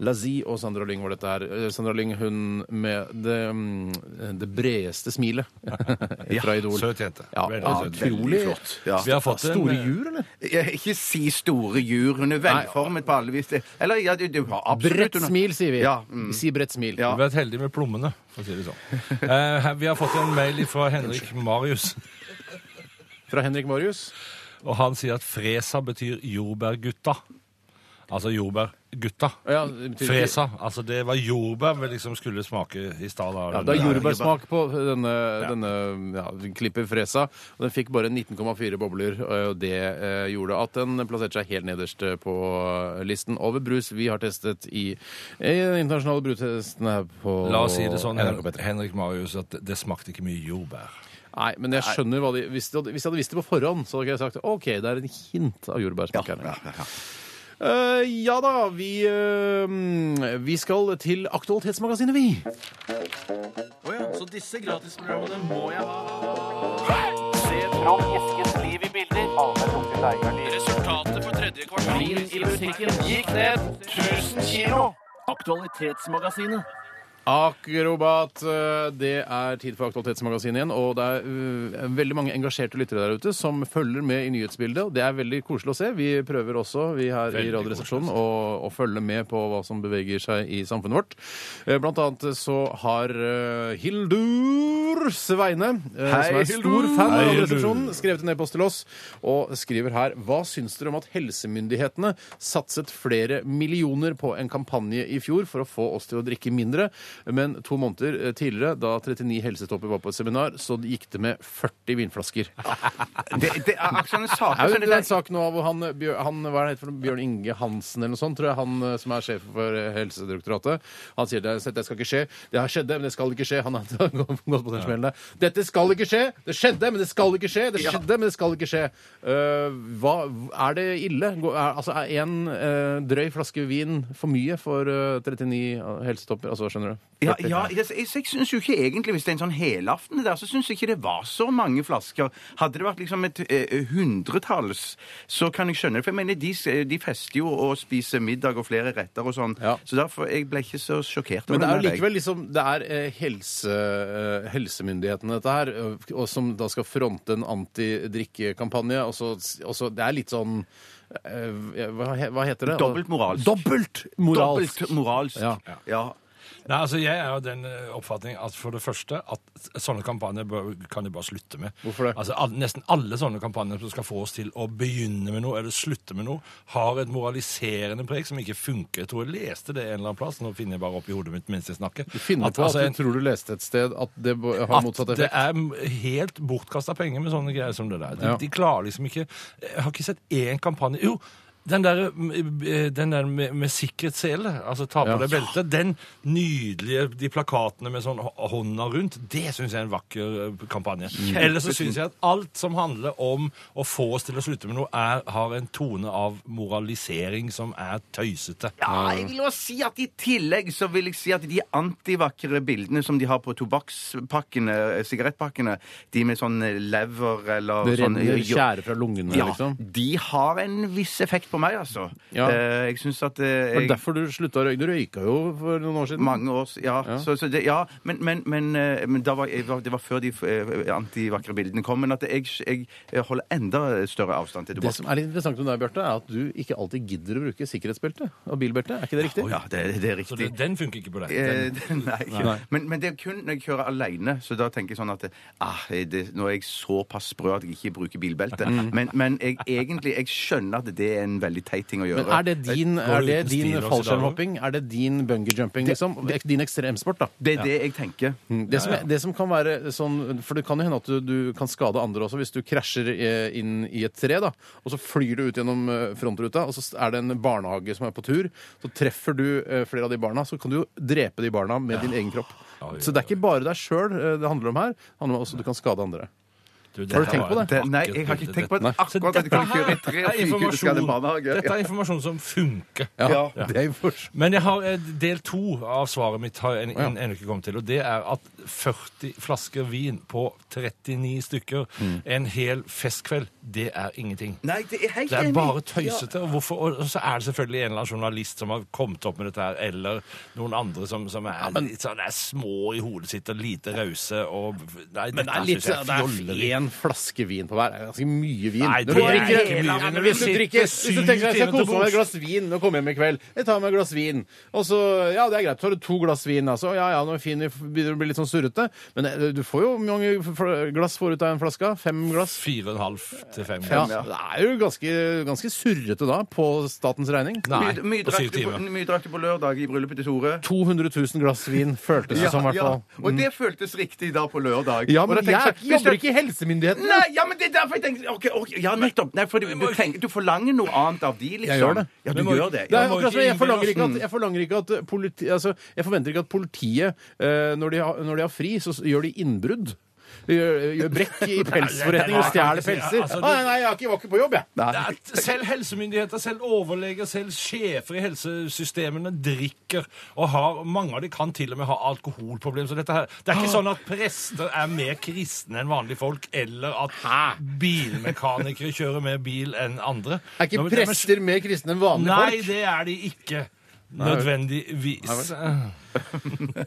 Lazi og Sandra Lyng var dette her. Eh, Sandra Lyng, hun med det, mm, det bredeste smilet fra Idol. Søt jente. Ja, Veldig ja, søt. utrolig flott. Ja. Vi har fått en eh, Store jur, eller? Jeg- Ikke si store jur. Hun er velformet på alle vis. Det- Eller ja, du, du har absolutt Bredt smil, sier vi. Ja, mm. Vi sier bredt smil. Ja. Vi har vært heldige med plommene, for å si det sånn. Eh, her- vi har fått en mail fra Henrik Marius, Fra Henrik Marius. og han sier at fresa betyr jordbærgutta. Altså jordbærgutta. Ja, det betyr- Fresa. Altså det var jordbær vi liksom skulle smake i stad. da. Ja, det er Den der- jordbærsmak på denne, denne ja, klipper fresa. Og den fikk bare 19,4 bobler, og det eh, gjorde at den plasserte seg helt nederst eh, på listen over brus vi har testet i, i den internasjonale brustesten her på La oss si det sånn, NRK P3. Henrik Marius, at det smakte ikke mye jordbær. Nei, men jeg skjønner hva de Hvis de hadde, hvis de hadde visst det på forhånd, så hadde jeg sagt OK, det er en hint av jordbærsmak her. Ja, ja, ja. Eh, ja da, vi, eh, vi skal til Aktualitetsmagasinet, vi. Resultatet på tredje kvartal gikk ned 1000 kilo. Aktualitetsmagasinet. Akrobat. eh, Det er tid for Aktualitetsmagasinet igjen. Og det er eh, veldig mange engasjerte lyttere der ute som følger med i nyhetsbildet. og Det er veldig koselig å se. Vi prøver også, vi her i Radioresepsjonen, å, å følge med på hva som beveger seg i samfunnet vårt. Eh, Blant annet så har eh, Hildur Sveine, eh, Hei, som er stor Hildur! fan av Hei, Radioresepsjonen, skrevet en e-post til oss og skriver her Hva syns dere om at helsemyndighetene satset flere millioner på en kampanje i fjor for å få oss til å drikke mindre, men to måneder eh, tidligere, da 39 helsetopper var på et seminar, så gikk det med 40 vinflasker. Det, det er akkurat sånne saker som det Det er jo en der. liten sak nå hvor han, eh, Bjør- han hva er det heter for noe, Bjørn Inge Hansen eller noe sånt, tror jeg, han eh, som er sjef for eh, Helsedirektoratet, han sier det, det skal ikke skje. Det har skjedd, men det skal ikke skje. Han har gått på den smellen der. Dette skal ikke skje! Det skjedde, men det skal ikke skje! Det skjedde, men det skal ikke skje! Eh, hva, er det ille? Gå- Er, altså, er en eh, drøy flaske vin for mye for eh, 39 helsetopper? Altså, skjønner du? Ja, ja, jeg, jeg, jeg syns jo ikke egentlig, hvis det er en sånn helaften der, så syns jeg ikke det var så mange flasker. Hadde det vært liksom et eh, hundretalls, så kan jeg skjønne det. For jeg mener, de, de fester jo og spiser middag og flere retter og sånn, Ja. så derfor jeg ble ikke så sjokkert. over Men det er jo der, jeg. likevel liksom, det er eh, helse, eh, helsemyndighetene dette her, eh, og som da skal fronte en antidrikkekampanje. Og så, og så det er litt sånn eh, hva, he- hva heter det? Dobbelt moralsk. Dobbelt moralsk! Dobbelt moralsk. Ja. ja. Nei, altså Jeg er jo den eh, oppfatning at for det første at sånne kampanjer bør, kan de bare slutte med. Hvorfor det? Altså al Nesten alle sånne kampanjer som skal få oss til å begynne med noe eller slutte med noe, har et moraliserende preg som ikke funker. Jeg tror jeg leste det en eller annen plass. Nå finner jeg bare opp i hodet mitt mens jeg snakker. Du finner At, på altså, at en- du tror du leste et sted at det bo- har motsatt at det effekt. er m- helt bortkasta penger med sånne greier som det der. De, Ja. de klarer liksom ikke Jeg har ikke sett én kampanje Jo! Den der, m- eh, den der med, med sikkerhetssele, altså ta på Ja. deg beltet, den nydelige de plakatene med sånn hå- hånda rundt, det syns jeg er en vakker eh, kampanje. Ellers så syns jeg at alt som handler om å få oss til å slutte med noe, er, har en tone av moralisering som er tøysete. Ja, jeg vil også si at i tillegg så vil jeg si at de antivakre bildene som de har på tobakkspakkene, eh, sigarettpakkene, de med sånn lever eller Det sånn renner jo- tjære fra lungene, Ja, liksom. de har en viss effekt på meg, altså. Ja. Eh, jeg syns at eh, Det var jeg, derfor du slutta å røyke. Du røyka jo for noen år siden. mange år s- Ja, Så, så det, ja men, men, men, eh, men da var, jeg, var- det var før de eh, antivakre bildene kom. Men at jeg, jeg holder enda større avstand til Det tobakk. som er litt interessant med deg, Bjarte, er at du ikke alltid gidder å bruke sikkerhetsbelte og bilbelte. Er ikke det riktig? Ja, det, det er Så riktig. det, den funker ikke på deg. Eh, nei. Men, men det er kun når jeg kjører alene, så da tenker jeg sånn at ah, det, Nå er jeg såpass sprø at jeg ikke bruker bilbelte. Mm. Men, men jeg, egentlig jeg skjønner at det er en veldig teit ting å gjøre. Men er det din, Går er du det uten din stil også i fallskjermhopping? Er det din bungee-jumping, liksom? Det er Din ekstremsport, da. Det er det jeg tenker. Det som, det som kan være sånn, for det kan jo hende at du, du kan skade andre også hvis du krasjer eh, inn i et tre, da, og så flyr du ut gjennom eh, frontruta, og så er det en barnehage som er på tur, så treffer du eh, flere av de barna, så kan du jo drepe de barna med din egen kropp. Ja, ja, Så det er ikke bare deg sjøl det handler om her, det handler om også at du kan skade andre. Du, Har du dette tenkt var på et Det, nei, jeg har vakkert ikke bilde. tenkt på at Nei. Så akkurat at jeg dette kan kjøre i tre her og er fire kuleskader barnehage. Dette er informasjon som funker. Ja, det er jo for- Men jeg har eh, del to av svaret mitt har en- Ja. en- ennå ikke kommet til, og det er at 40 flasker vin på 39 stykker Mm. en hel festkveld, det er ingenting. Nei, det er helt Det er enig. bare tøysete. Og, hvorfor, og så er det selvfølgelig en eller annen journalist som har kommet opp med dette her, eller noen andre som, som er, litt sånn, er små i hodet sitt og lite rause og Nei, Men det er litt sånn, det er én flaske vin på hver. Det er ganske mye vin. Nei, Når det du er drikker- ikke mye. Nei, men Vi hvis, du sitter drikker, hvis du syv tenker jeg skal timer til kose meg med et bords. glass vin når jeg kommer hjem i kveld, jeg tar meg et glass vin, og så Ja, det er greit. Så har du to glass vin, altså. Ja ja, nå er fin, begynner å bli litt sånn surrete. Men eh, du får jo hvor mange f- glass får du ut av en flaske? Fem glass? Fire og en halv til fem. Ja, det er jo ganske, ganske surrete da, på statens regning. Nei, Mye- Mye på syv drakk du på- timer. mye drakk du på lørdag i bryllupet til Tore. 200 000 glass vin føltes det som, sånn i hvert fall. Og det føltes riktig da på lørdag. Ja, Og da men jeg tenker er sånn, ikke- hvis jeg- jobber ikke i helsemyndighetene. Nei, ja, men det er derfor jeg tenker ok, ok, Ja, nettopp. Nei, for du, du, tenker, du forlanger noe annet av de, liksom. Jeg gjør det. Ja, du Men må- gjør det. Det Ja. er akkurat må som ikke jeg innbille forlanger ikke oss- at, jeg forlanger ikke at politi, altså, jeg forventer ikke at politiet, eh, når, de har, når de har fri, så s- gjør de innbrudd. De gjør, eh, gjør brekk i pelsforretninger og stjeler pelser. Altså, du- Ah, nei, jeg har ikke- var ikke på jobb, jeg. Det er- Selv helsemyndigheter, selv overleger, selv sjefer i helsesystemene drikker. Og har, mange av de kan til og med ha alkoholproblemer. Så dette her, det er ikke sånn at prester er mer kristne enn vanlige folk, eller at bilmekanikere kjører mer bil enn andre. Er ikke Nå, men- prester mer kristne enn vanlige Nei, folk? det er de ikke. Nødvendigvis.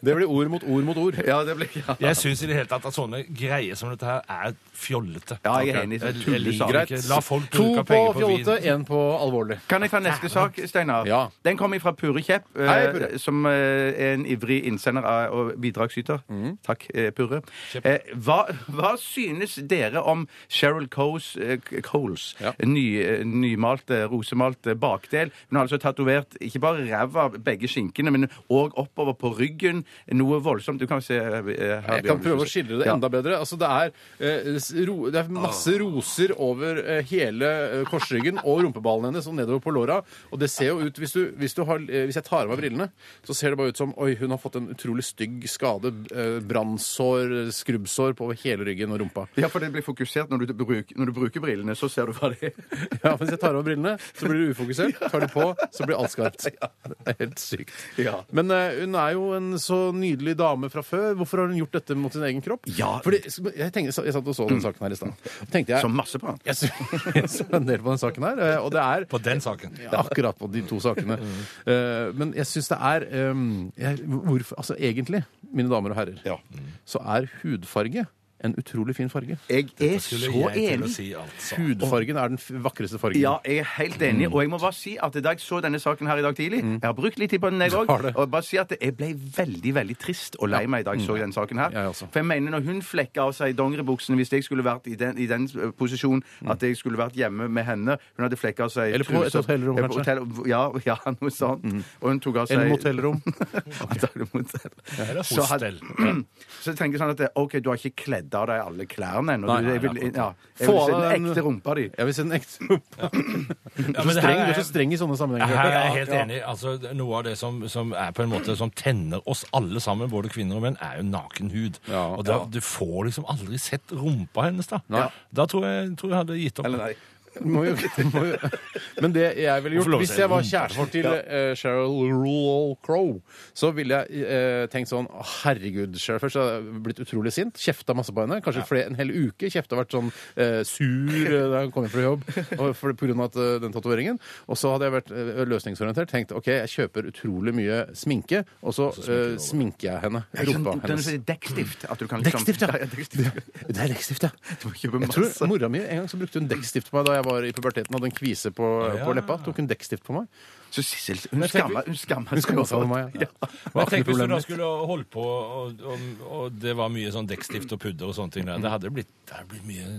Det blir ord mot ord mot ord. Ja, det blir ja. Jeg syns i det hele tatt at sånne greier som dette her er fjollete. Ja, jeg er enig. Jeg- jeg Tullesak. liker det Greit. ikke. La folk to på bruke penger på vin. fjollete, én på alvorlig. Kan jeg ta neste sak, Steinar? Ja. Den kommer fra Pure Kjepp, eh, Hei, Pure. som eh, er en ivrig innsender av- og bidragsyter. Mhm. Takk, eh, Pure. Eh, hva, hva synes dere om Cheryl Coles, eh, Coles Ja. ny, eh, nymalte, rosemalte bakdel? Hun har altså tatovert ikke bare ræva av begge skinkene, men òg oppover på ryggen. Noe voldsomt. Du kan se eh, her, Jeg kan prøve å skildre det Ja. enda bedre. Altså, det, er, eh, s- ro, det er masse roser over eh, hele eh, korsryggen og rumpeballen hennes og nedover på låra. Og det ser jo ut hvis, du, hvis, du har, eh, hvis jeg tar av meg brillene, så ser det bare ut som Oi, hun har fått en utrolig stygg skade. eh, Brannsår, eh, skrubbsår på hele ryggen og rumpa. Ja, for det blir fokusert når du, bruk, når du bruker brillene, så ser du hva det er. Ja, Mens jeg tar av meg brillene, så blir det ufokusert. Tar de på, så blir alt skarpt. Det er helt sykt. Ja. Men eh, hun er jo en så nydelig dame fra før. Hvorfor har hun gjort dette mot sin egen kropp? Ja. Fordi, jeg, tenkte, jeg satt og så den saken her i stad. Så tenkte jeg Så masse på han. jeg så, jeg så en del på den saken her, eh, og det er På den saken. det er akkurat på de to sakene. Eh, Men jeg syns det er eh, jeg, hvorfor, Altså egentlig, mine damer og herrer, Ja. så er hudfarge en utrolig fin farge. Jeg er så Skulle jeg til å enig. si, altså. Hudfargen er den f- vakreste fargen. Ja, jeg er helt Mm. enig. Og jeg må bare si at da jeg så denne saken her i dag tidlig Jeg har brukt litt tid på den, jeg òg. Har det. Og bare si at jeg ble veldig veldig trist og lei meg da jeg så den saken her. Mm. Jeg også. For jeg mener, når hun flekker av seg dongeribuksene Hvis jeg skulle vært i den, i den eh, posisjonen at jeg skulle vært hjemme med henne Hun hadde flekka av seg Mm. Eller på et truser- hotellrom, eh, på kanskje. Mm. hotell- ja, ja, noe sånt. Og hun tok av seg Eller motellrom. Antagelig motell. Eller Så hadde- hostell. Så jeg tenkte sånn at OK, du har ikke kledd av deg alle klærne ennå. Nei, Du- Jeg nei, vil, akkurat. ja, jeg vil Få se av deg den den- ekte rumpa di. Jeg vil se den ekte rumpa. Du Ja, er så men det her streng, du er er- så streng i sånne sammenhenger. Her er Bjarte. jeg helt enig. Altså, noe av det som, som er på en måte som tenner oss alle sammen, både kvinner og menn, er jo naken hud. Ja, og da, ja. du får liksom aldri sett rumpa hennes, da. Nei. Da tror jeg, tror jeg hadde gitt opp. Eller nei. Må jo, må jo. Men det jeg ville gjort Hvorfor lov å hvis si jeg var rumpa? kjæresten til eh, Sheryl Rule Crow, så ville jeg eh, tenkt sånn «Å, Herregud, Sheryl. Først har jeg blitt utrolig sint. Kjefta masse på henne. Kanskje flere, en hel uke. Kjefta vært sånn eh, sur eh, da hun kom hjem fra jobb og for, på grunn av at, eh, den tatoveringen. Og så hadde jeg vært eh, løsningsorientert. Tenkt OK, jeg kjøper utrolig mye sminke, og så eh, sminker jeg henne. Rumpa Sånn, Den hennes. er dekkstift. At du kan liksom, Dekkstift, ja! dekkstift. Det det er dekkstift, ja. Du må kjøpe Jeg tror masse. mora mi en gang så brukte hun dekkstift på meg da jeg var i puberteten. Hadde en kvise på, Ja. på leppa. Tok hun dekkstift på meg? Så Sissel, hun Jeg tenker- skammer hun skammer Hun skamma seg over over meg. Ja. Men jeg tenker Hvis du da problemet. skulle holdt på, og, og, og det var mye sånn dekkstift og pudder og sånne ting der, det hadde blitt, det hadde blitt mye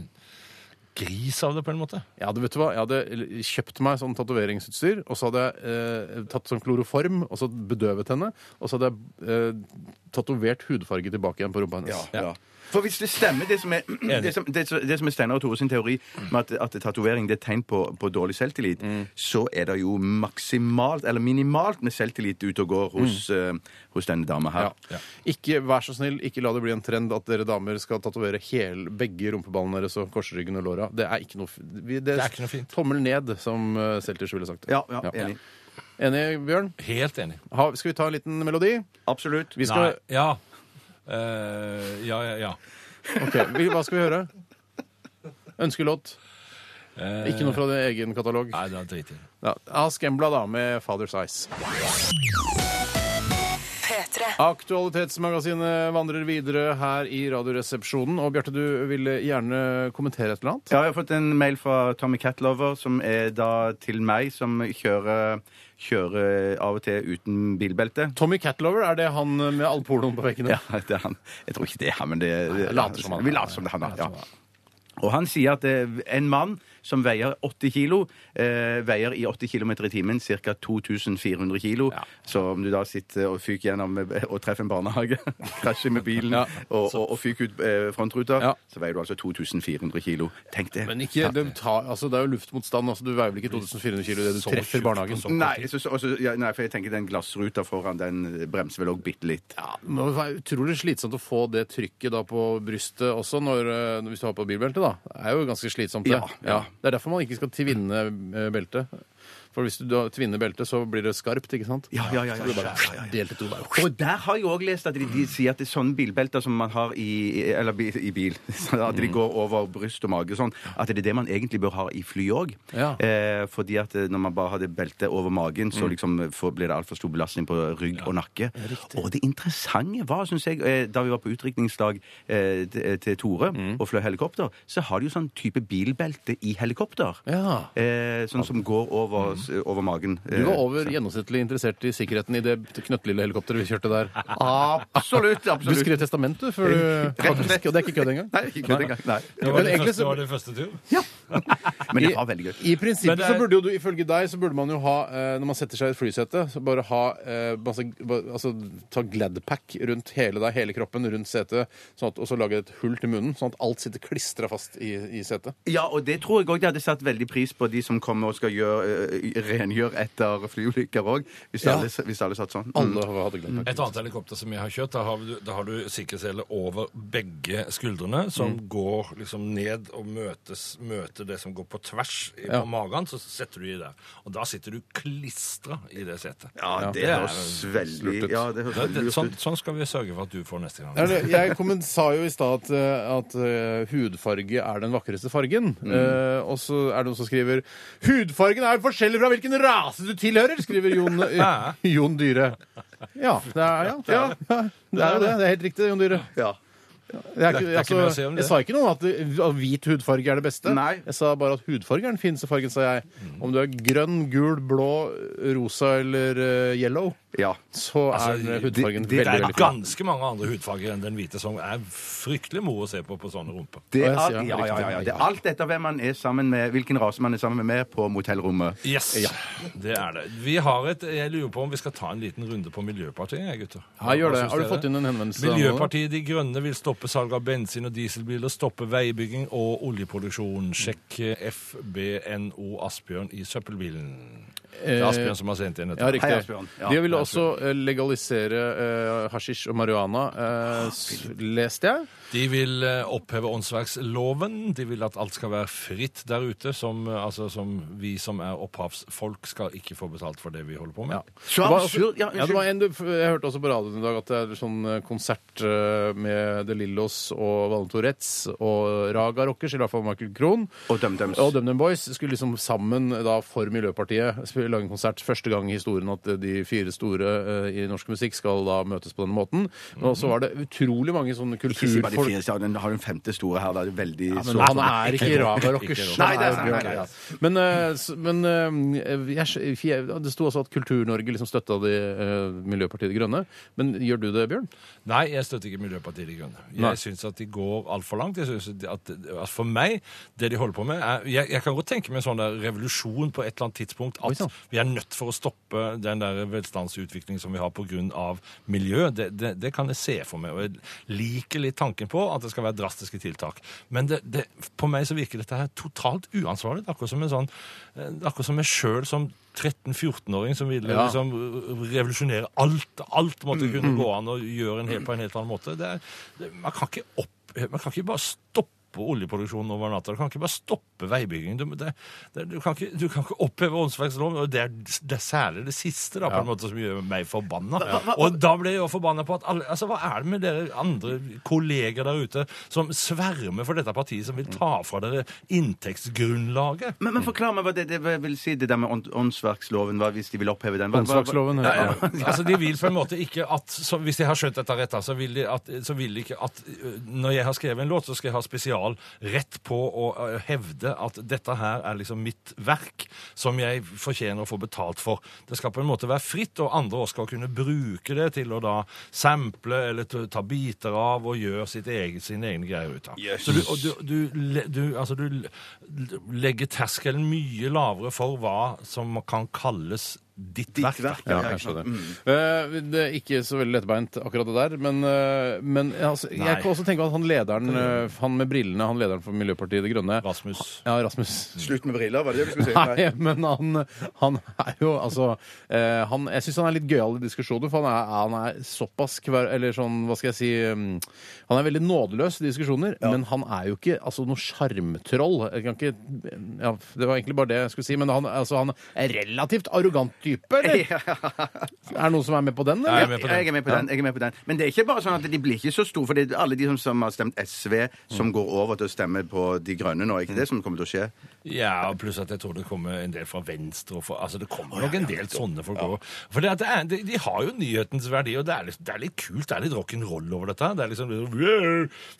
gris av det, på en måte. Jeg hadde, vet du hva, jeg hadde kjøpt meg sånn tatoveringsutstyr, og så hadde jeg eh, tatt sånn kloroform, og så bedøvet henne, og så hadde jeg eh, tatovert hudfarge tilbake igjen på rumpa hennes. Ja, ja. For hvis det stemmer, det som er, det som, det, som- det som er Steinar og Tore sin teori med at, at tatovering det er tegn på, på dårlig selvtillit, Mm. så er det jo maksimalt, eller minimalt, med selvtillit ute og går hos, Mm. eh, hos denne dama her. Ja. Ikke, vær så snill, ikke la det bli en trend at dere damer skal tatovere hel- begge rumpeballene deres og korsryggen og låra. Det er ikke noe, f- vi- det, er ikke noe fint. Tommel ned, som eh, Selters ville sagt. Ja, ja, enig. Enig, Bjørn? Helt enig. Ha, skal vi ta en liten melodi? Absolutt. Vi skal, Nei, ja. Eh, ja, ja, ja. Ok, vi- Hva skal vi høre? Ønskelåt. Eh, Ikke noe fra din egen katalog. Nei, det er drit i. det. Ja, Ask Embla, da, med 'Father's Eyes'. P3. Aktualitetsmagasinet vandrer videre her i Radioresepsjonen. Og Bjarte, du ville gjerne kommentere et eller annet? Ja, jeg har fått en mail fra Tommy Catlover, som er da til meg, som kjører, kjører av og til uten bilbelte. Tommy Catlover, er det han med all pornoen på veggene? Ja, det er han. Jeg tror ikke det er han, men det, jeg later som han er. vi later som det er han. da, Ja. Og han sier at eh, en mann som veier 80 kilo, eh, veier i 80 km i timen ca. 2400 kilo. Så om du da sitter og fyker gjennom eh, og treffer en barnehage, krasjer med bilen Ja. og, og, og fyker ut eh, frontruta, Ja. så veier du altså 2400 kilo. Tenk det. Men ikke, det, tar, altså, det er jo luftmotstand. Altså, du veier vel ikke 2400 kilo idet du Så treffer tjukt barnehagen? og så- Nei, så, så- også, ja, nei, for jeg tenker den glassruta foran den bremser vel òg bitte litt. Ja, det må være utrolig slitsomt å få det trykket da på brystet også, når, eh, hvis du har på bilbelte. da. Det er jo ganske slitsomt, det. Ja, ja. Det er derfor man ikke skal tvinne eh, beltet. For For hvis du da tvinner beltet, så blir det skarpt, ikke sant? Ja, ja, ja, Så blir det ja, bare ja, ja, ja. delt i to. Bare. Og der har jeg òg lest at de, Mm. de sier at det er sånne bilbelter som man har i Eller bi- i bil. sånn At Mm. de går over bryst og mage og sånn. At det er det man egentlig bør ha i fly òg. Ja. Mm. Eh, fordi at eh, når man bare har det beltet over magen, så liksom får, blir det altfor stor belastning på rygg og nakke. Og det interessante var, syns jeg, eh, da vi var på utdrikningsdag eh, til til Tore Mm. og fløy helikopter, så har de jo sånn type bilbelte i helikopter. Ja. Eh, sånn som går over, s- over magen. Du var Eh, over gjennomsnittlig interessert i sikkerheten i det knøttlille helikopteret vi kjørte der. Absolutt! Du absolutt. skrev testament, du, før du faktisk, Og det er ikke kødd engang. Nei, ikke det engang. Nei. Det var Men din egentlig første, så- var din første tur. Men det var veldig gøy. I prinsippet Men det er- så burde jo du, ifølge deg, så burde man jo ha, eh, når man setter seg i et flysete, så bare ha eh, masse ba- Altså ta Gladpack rundt hele deg, hele kroppen, rundt setet, sånn at, og så lage et hull til munnen, sånn at alt sitter klistra fast i, i setet. Ja, og det tror jeg òg de hadde satt veldig pris på, de som kommer og skal gjøre, eh, rengjøre etter flyulykker òg. Hvis, Ja. alle- hvis alle satt sånn. Alle Mm. hadde Gladpack. Et annet helikopter som jeg har kjørt, da har du, da har du sikkerhetssele over begge skuldrene, som Mm. går liksom ned og møtes, møter det som går på tvers i, Ja. på magen, så setter du i der. Og da sitter du klistra i det setet. Ja, det Ja. høres veldig Slurtet. Ja, det høres Det, det, veldig lurt sånn, ut. sånn skal vi sørge for at du får neste Ja, gang. det- Jeg kommen- sa jo i stad at, eh, at eh, hudfarge er den vakreste fargen. Mm. Eh, og så er det noen som skriver 'Hudfargen er forskjellig fra hvilken rase du tilhører', skriver Jon, eh, Jon Dyre. Ja, det er ja, ja, ja, det er jo det. Det er helt riktig, Jon Dyre. Ja. Jeg, er ikke, Det er ikke altså, mye å si om det. jeg sa ikke noe om at det- at hvit hudfarge er det beste. Nei. Jeg sa bare at hudfarge er den fineste fargen, sa jeg. Om du er grønn, gul, blå, rosa eller eh, yellow, ja. så er Altså, hudfargen det- det veldig, Det er veldig fin. ganske mange andre hudfarger enn den hvite som er fryktelig moro å se på på sånne rumper. Det er, Å, alt- jeg ja, sier- ja, ja, ja. Det er alt etter hvem man er sammen med, hvilken rase man er sammen med på motellrommet. Yes, det er det. Vi har et, Jeg lurer på om vi skal ta en liten runde på Miljøpartiet, jeg, gutter. Ja, gjør Hva det. syns Har du dere? fått inn en henvendelse? Miljøpartiet De Grønne vil stoppe salg av bensin- og dieselbiler, stoppe veibygging og oljeproduksjon. Sjekk FBNO Asbjørn i søppelbilen. Det er Asbjørn som har sendt inn Ja, dette. riktig. Hei, Asbjørn. Ja, de ville også eh, legalisere eh, hasjisj og marihuana, eh, s- leste jeg. De vil eh, oppheve åndsverksloven. De vil at alt skal være fritt der ute. Som, eh, altså, som vi som er opphavsfolk, skal ikke få betalt for det vi holder på med. Så Det var absurd! Ja, også- ja, det var unnskyld. en, jeg hørte også på radioen i dag at det er sånn eh, konsert eh, med De Lillos og Valen Tourettes og Raga Rockers, i hvert fall Michael Krohn. Og DumDums. Og DumDum Boys skulle liksom sammen eh, da for Miljøpartiet spille- lage en konsert. Første gang i historien at eh, de fire store eh, i norsk musikk skal da møtes på den måten. Og så var det utrolig mange sånne Ikke si bare de kulturfolk fire, sa den har den femte store her. Da er det veldig Ja, men sårt. han er ikke Raga-rockers. Nei, det er sant, nei, det er Men, eh, s- men eh, jeg, skj- for jeg, det sto også at Kultur-Norge liksom støtta de eh, Miljøpartiet De Grønne. Men gjør du det, Bjørn? Nei, jeg støtter ikke Miljøpartiet De Grønne. Nei. Jeg syns at de går altfor langt. Jeg synes at, at For meg, det de holder på med er, jeg, jeg kan godt tenke meg en sånn der revolusjon på et eller annet tidspunkt. Oi, At sann. vi er nødt for å stoppe den der velstandsutviklingen som vi har pga. miljø. Det, det, det kan jeg se for meg. Og jeg liker litt tanken på at det skal være drastiske tiltak. Men det, det, på meg så virker dette her totalt uansvarlig. Det er Akkurat som en sånn, eh, det er akkurat som meg sjøl som 13-14-åring som ville Ja. liksom revolusjonere alt. Alt måtte kunne gå an å gjøre en helt, på en helt annen måte. Det er, det, man, kan ikke opp, man kan ikke bare stoppe oljeproduksjonen over natta. Du kan ikke bare stoppe veibyggingen. Du, det, det, du, kan, ikke, du kan ikke oppheve åndsverksloven. og Det, er- det er særlig det siste da, på en måte som gjør meg forbanna. Og da ble jeg jo forbanna på at alle, altså, Hva er det med dere andre kolleger der ute som svermer for dette partiet, som vil ta fra dere inntektsgrunnlaget? Men, men forklar meg hva det, det vil si, det der med ånd- åndsverksloven, hva hvis de vil oppheve den? Hva- hva- Åndsverksloven. Ja, ja. altså, de vil på en måte ikke at så, Hvis jeg har skjønt dette rett, da, så vil de, at, så vil de ikke at ø, Når jeg har skrevet en låt, så skal jeg ha spesial rett på å ø, hevde at dette her er liksom mitt verk, som jeg fortjener å få betalt for. Det skal på en måte være fritt, og andre også skal kunne bruke det til å da sample eller t- ta biter av og gjøre sitt eget, sine egne greier ut av. Så du, og du, du, le- du, altså du l- legger terskelen mye lavere for hva som kan kalles ditt verk. Ja, jeg skjønner. Mm. Eh, det er ikke så veldig lettbeint akkurat det der, men, eh, men altså, jeg kan også tenke at han lederen, eh, han med brillene, han lederen for Miljøpartiet De Grønne Rasmus. Ja, Rasmus. Slutt med briller, var det det du skulle si? Nei. Nei, men han, han er jo altså eh, han, Jeg syns han er litt gøyal i diskusjoner, for han er, han er såpass kver, Eller sånn, hva skal jeg si um, Han er veldig nådeløs i diskusjoner, men han er jo ikke altså, noe sjarmtroll. Jeg kan ikke ja, Det var egentlig bare det jeg skulle si, men han, altså, han er relativt arrogant type, eller? Er det noen som er med på den, Jeg eller? er med på den. Jeg er med på den. jeg er med på den. Men det er ikke bare sånn at de blir ikke så store. For det er alle de som, som har stemt SV, som går over til å stemme på De grønne nå. Er ikke det som kommer til å skje? Mm. Ja, og pluss at jeg tror det kommer en del fra venstre. Og fra, altså det kommer nok en del sånne folk òg. For det at det er, de, de har jo nyhetens verdi, og det er, litt, det er litt kult. Det er litt rock'n'roll over dette. Det er liksom litt sånn,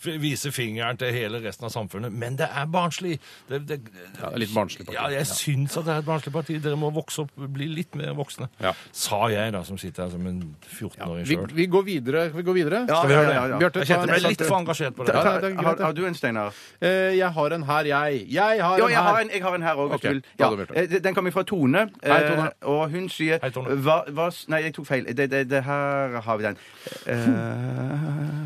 «Wow!» Vise fingeren til hele resten av samfunnet. Men det er barnslig. Det, det, det er litt barnslig parti. Ja, jeg syns at det er et barnslig parti. Dere må vokse opp, bli litt mer voksne. Ja. Sa jeg, da, som sitter her som en 14-åring Vi, sjøl. vi går videre. Vi går videre. Ja, Skal vi høre det? ja, ja, ja. Bjarte, Jeg ta kjente meg en litt for engasjert på Ta- det. ta- Har, det er greit, har, det. har du en, Steinar? Eh, Jeg har en her, jeg. Jeg har Ja, en jeg har her. en, jeg har en her òg. Ok, da hadde vi hørt Den kommer fra Tone. eh, Hei, Tone. Og hun sier Hei, Tone. Hva, hva, s- nei, jeg tok feil. Det, det, det her har vi den. Eh,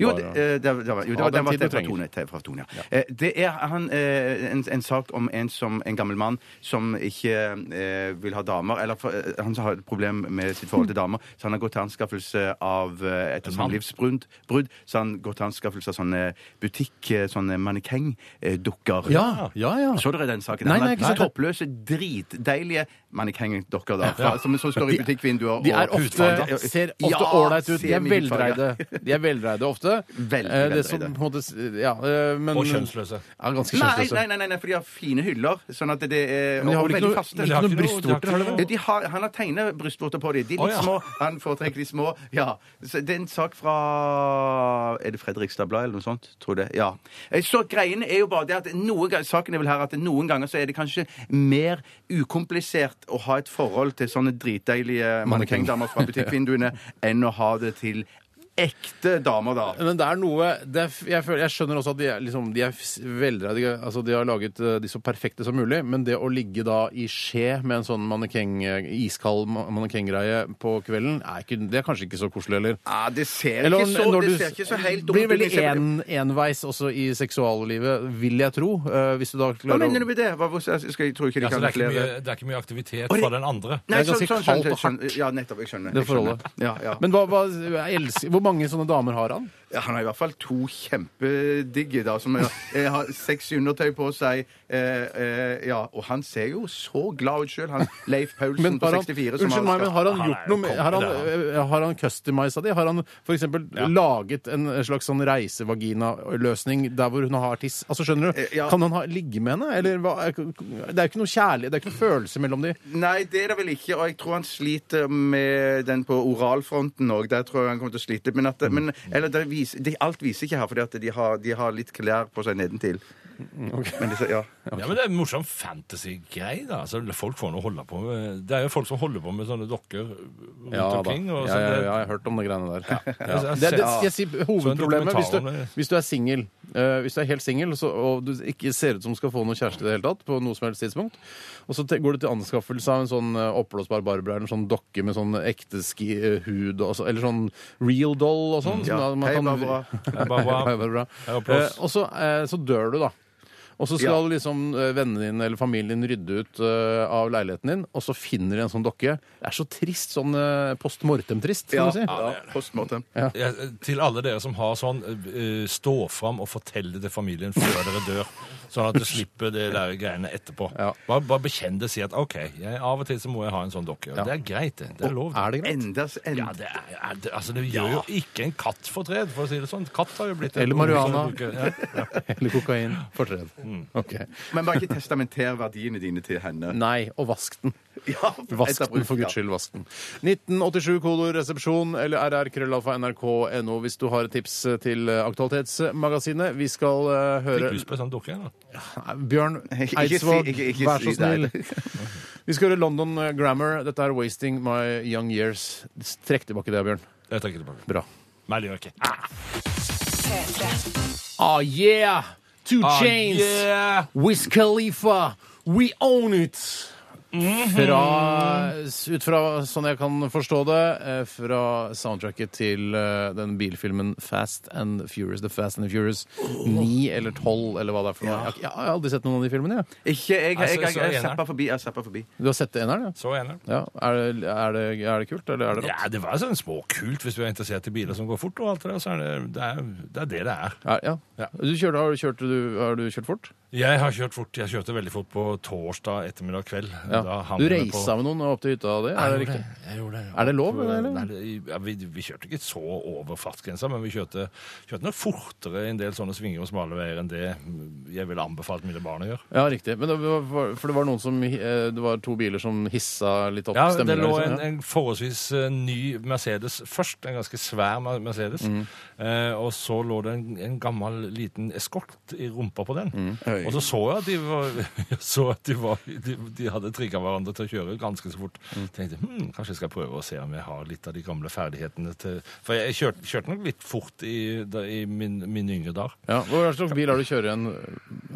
jo, det, bare- eh, det, var- det var, jo, det Ha var, den den var tid du fra trenger. Tone. det er Fra Tone ja. Eh, Det er han, eh, en, en sak om en, som, en gammel mann som ikke eh, vil ha damer. Eller for, eh, han har et problem med sitt forhold til damer, så han har gått til anskaffelse av eh, et samlivsbrudd. brudd, Så han går til anskaffelse av sånne butikk, eh, sånne eh, mannekengdukker. Ja, ja, ja. Så dere den saken? Nei, Han nei, er ikke sett. Toppløse, dritdeilige mannekengdokker, da. fra- Som, som står i butikkvinduer. De er og- ofte, Hudfarge. ser Ja, ofte ålreit ut. De ser er mye veldreide. farge. De er veldreide ofte. Veldig Eh, Det som på veldreide. en måte s- ja, eh, men, Og kjønnsløse. Ja, ganske Nei, kjønnsløse. nei, nei, nei, nei, for de har fine hyller. Sånn at det er Men de har og vel ikke veldig noe, faste. ikke har noe ikke noe- de har brystvorter, har de ikke vel? Ja, de har, han har tegnet brystvorter på dem. De er litt Å, ja. små. Han foretrekker de små. Ja. Så det er en sak fra Er det Fredrikstad Blad eller noe sånt? Tror det. Ja. Eh, Så greien er jo bare det at noen, ga- saken er vel her at noen ganger så er det kanskje mer ukomplisert å ha et forhold til sånne dritdeilige mannekengdamer fra butikkvinduene enn å ha det til ekte damer, da. Men det er noe det er, f- jeg, føler, jeg skjønner også at de er, liksom, de er s- veldreide. Altså, de har laget eh, de så perfekte som mulig, men det å ligge da i skje med en sånn mannekeng, eh, iskald ma- mannekenggreie på kvelden, er, ikke, det er kanskje ikke så koselig heller. Ja, det ser, Eller ikke, så, når det du ser ikke så helt blir dumt veldig ut. Det ser- en, enveis også i seksuallivet, vil jeg tro. eh, hvis du da Hva klarer mener du med det? Hva, hvor- skal jeg tror ikke de Ja, kan så det, er flere ikke mye, det er ikke mye aktivitet fra den andre. Nei, Det er ganske sånn- sånn- kaldt sånn- og sånn- Ja, nettopp. Jeg skjønner. Det jeg skjønner. forholdet. Ja, ja. Men hva, hva, jeg elsker, hvor mange sånne damer har han? Ja, han har i hvert fall to kjempedigge, da, som er, eh, har seks undertøy på seg. Eh, eh, ja, og han ser jo så glad ut sjøl, han Leif Paulsen Men på har han, 64. som unnskyld meg, men skapt- har han Han er gjort noe med konge, Har han, det eh, har han customisa de? Har han f.eks. laget en slags sånn reisevagina-løsning der hvor hun har tiss? Altså, skjønner du? Eh, ja. Kan han ha, ligge med henne? Eller hva? er- Det er jo ikke noe kjærlighet, det er ikke noe følelse mellom de. Nei, det er det vel ikke, og jeg tror han sliter med den på oralfronten òg. Der tror jeg han kommer til å slite. Men, at, men Mm. eller det viser, det, alt viser ikke her, fordi at de har, de har litt klær på seg nedentil. Mm, Men det, ja. Ja, men Det er en morsom fantasy-greie. da. Altså, folk får noe å holde på med. Det er jo folk som holder på med sånne dokker rundt omkring. og Ja, ja, sånn, det- ja, jeg har hørt om de greiene der. Ja. Jeg- jeg Det, det, ser- Sånn jeg sier hovedproblemet hvis du, dokumentar om det. hvis du er singel, eh, hvis du er helt singel så- og du ikke ser ut som du skal få noen kjæreste i det hele tatt, på noe som helst tidspunkt, og så te- går du til anskaffelse av en sånn eh, oppblåsbar Barbara eller en sånn dokke med sånn ekte ski, eh, hud og så, eller sånn real doll og sånn. som Mm. Ja. da man Hei, kan- Barbara. Hei, Barbara. Hei, Barbara. Hei, applaus. Eh, Og så, eh, så dør du, da. Og så skal Ja. liksom eh, vennene dine eller familien din rydde ut eh, av leiligheten din, og så finner de en sånn dokke. Det er så trist. Sånn eh, post mortem-trist, kan Ja, du si. ja, post mortem. Ja, til alle dere som har sånn, eh, stå fram og fortell det til familien før dere dør. Sånn at du slipper de der greiene etterpå. Ja. Bare, bare bekjenn det. Si at OK, jeg, av og til så må jeg ha en sånn dokke. Og Det er greit, det. Det er lov. Er det greit? Enda, enda. Ja, det, er, er, det, altså, det gjør jo ikke en katt fortred, for å si det sånn. Katt har jo blitt en- Eller marihuana. Ja. Eller kokain? Fortred. Mm. Ok. Men bare ikke testamenter verdiene dine til henne. Nei, og vask den. Ja, Vask etter bruk, den, for guds ja. skyld. Vask den. 1987 kolor resepsjon eller rrkrøllalfa.nrk.no hvis du har et tips til eh, Aktualitetsmagasinet. Vi skal eh, Fikk høre lyst på en sånn dokke? eller? Nei, Bjørn Ikke Eidsvåg, si- ikke- ikke vær si så snill. Vi skal høre London eh, Grammar. Dette er 'Wasting My Young Years'. Trekk tilbake det, Bjørn. Jeg trekker tilbake. Bra. Nei, det gjør jeg ikke. Ah, Ah, yeah! Two Chains! Ah, yeah! Wiz Khalifa! We own it! Fra, ut fra, sånn jeg kan forstå det, eh, fra soundtracket til eh, den bilfilmen Fast and Furious, The Fast and the Furious 9 eller 12, eller hva det er for noe. Jeg, har ikke- jeg har aldri sett noen av de filmene, jeg. Ikke jeg. Jeg, jeg, så- jeg, så jeg, eneren. zappa forbi. Jeg zappa forbi. Du har sett det eneren, ja? Så enig. ja. Er, det, er, det, er det kult, eller er det rått? Ja, det var sånn småkult hvis du er interessert i biler som går fort og alt det der. Så er det, det, er, det er det det er. Er- Ja. Ja. Du kjørte, har, du kjørt, du, har du kjørt fort? Jeg har kjørt fort. Jeg kjørte veldig fort på torsdag ettermiddag kveld. Da Ja. hang Du det reisa med noen opp til hytta di? Er det Jeg gjorde riktig? Jeg gjorde det. Er det lov, Jeg tror- eller? Nei, det- ja, vi, vi kjørte ikke så over fartsgrensa, men vi kjørte, kjørte nok fortere i en del sånne svinger og smale veier enn det jeg ville anbefalt mine barn å gjøre. Ja, riktig. Men det var, for det var noen som eh, Det var to biler som hissa litt opp Ja, det stemningen, lå liksom, en, en forholdsvis eh, ny Mercedes først, en ganske svær Mer- Mercedes, Mm. eh, og så lå det en, en gammel liten eskort i rumpa på den. Mm. Og så så jeg at de, var, jeg så at de, var, de, de hadde trigget hverandre til å kjøre ganske så fort. Mm. tenkte hm, kanskje jeg skal prøve å se om jeg har litt av de gamle ferdighetene til For jeg kjørte, kjørte nok litt fort i, da, i min, min yngre dag. Ja, Hva slags bil er det du kjører igjen?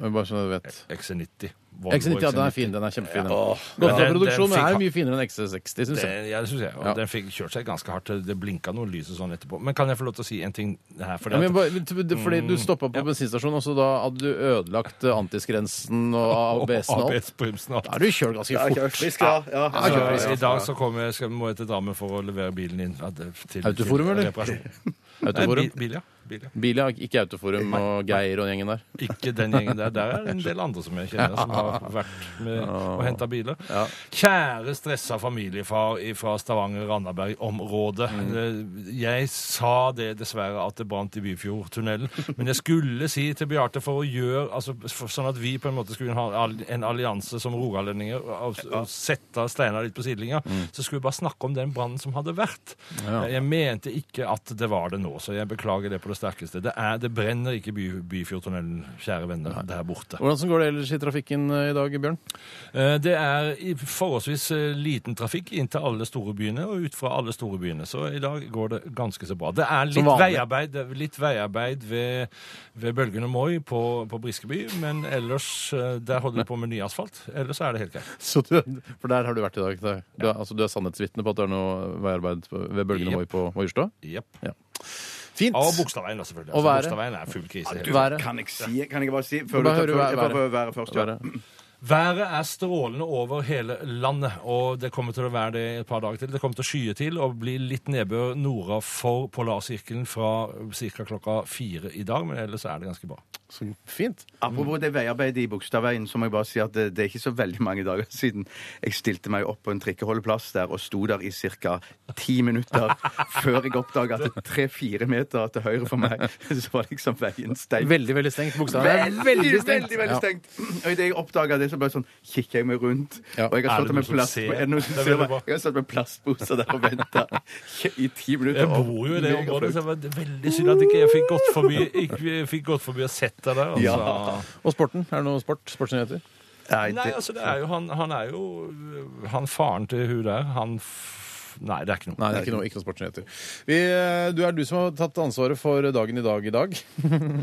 Eh, Bare så du vet. XC90. Volvo XC90, ja, den er XC90. fin. Den er kjempefin. den. Men Godt fra den- den produksjon, men fikk er ha- mye finere enn XC60, syns jeg. Det, ja, det synes jeg. Og Ja. den fikk kjørt seg ganske hardt. Det blinka noen lys og sånn etterpå. Men kan jeg få lov til å si en ting her? For Ja, men bare, men t- fordi du stoppa på Mm. ja. bensinstasjonen, og så da hadde du ødelagt eh, antisgrensen og ABS-en og alt. ABS-bremsen og Da har du kjørt ganske fort. Ja, ja. Så eh, I dag så kommer jeg, skal, må jeg til Drammen for å levere bilen inn. ja, det- til- Autoforum, til eller? reparasjon. Nei, bil, Autoforum. bil, ja. bil, ja. Bil, ja. Ikke Autoforum og Geir og den gjengen der. Ikke den gjengen der. Der er det en del andre som jeg kjenner, som har vært med og henta biler. Ja. Kjære stressa familiefar fra Stavanger-Randaberg-området. Mm. Eh, Jeg sa det dessverre at det brant i Byfjordtunnelen, men jeg skulle si til Bjarte for å gjøre altså, for, sånn at vi på en måte skulle ha all- en allianse som rogalendinger og, og sette steiner litt på sidelinja, så skulle vi bare snakke om den brannen som hadde vært. Ja. Jeg mente ikke at det var det nå, så jeg beklager det på det sterkeste. Det, er, det brenner ikke by, Byfjordtunnelen, kjære venner, der borte. Hvordan går det ellers i trafikken eh, i dag, Bjørn? Eh, Det er i forholdsvis eh, liten trafikk inn til alle store byene og ut fra alle store byene, så i dag går det ganske så bra. Det er Som litt vanlig. veiarbeid, det er litt veiarbeid ved, ved Bølgen og Moi på, på Briskeby, men ellers eh, der holder de på med ny asfalt. Ellers er det helt greit. Så du, for der har du vært i dag. ikke det? Du er, altså, du er sannhetsvitne på at det er noe veiarbeid på- ved Bølgen og Moi på Majorstua? Jepp. Fint! Og Bogstadveien, da, selvfølgelig. Og Altså, været? Bogstadveien er full krise. Du, Været? Kan jeg, si, kan jeg bare si før du Bare tar hør før- jeg været. får været først? Ja. Været. Været er strålende over hele landet, og det kommer til å være det et par dager til. Det kommer til å skye til og bli litt nedbør norda for polarsirkelen fra ca. klokka fire i dag, men ellers er det ganske bra. Så fint. Apropos det veiarbeidet i Bogstadveien, så må jeg bare si at det, det er ikke så veldig mange dager siden jeg stilte meg opp på en trikkeholdeplass der og sto der i ca. ti minutter før jeg oppdaga at tre-fire meter til høyre for meg så var liksom veien stengt. Veldig, veldig stengt. Bogstadveien Veldig, er veldig, veldig stengt. veldig, stengt. Og idet jeg oppdaga det, så bare sånn kikker jeg meg rundt. Ja. Og jeg har Er det stått med noen som plast- ser? er det noen som Det er ser veldig meg? bra. Jeg har stått med plastposer der og venta i ti minutter. Jeg bor jo i det Megaflaut. området, liksom. så det var veldig synd at ikke jeg fikk gått forbi, ikke, fikk gått forbi og sett deg der. Altså. Ja. Og sporten? Er det noe sport? Sportsnyheter? Nei, Nei, det- altså, det er jo, han, han er jo øh, Han faren til hun der, han f- Nei, det er ikke noe. Nei, det er ikke noe, ikke noe sportsnyheter. Vi, eh, du er du som har tatt ansvaret for dagen i dag i dag,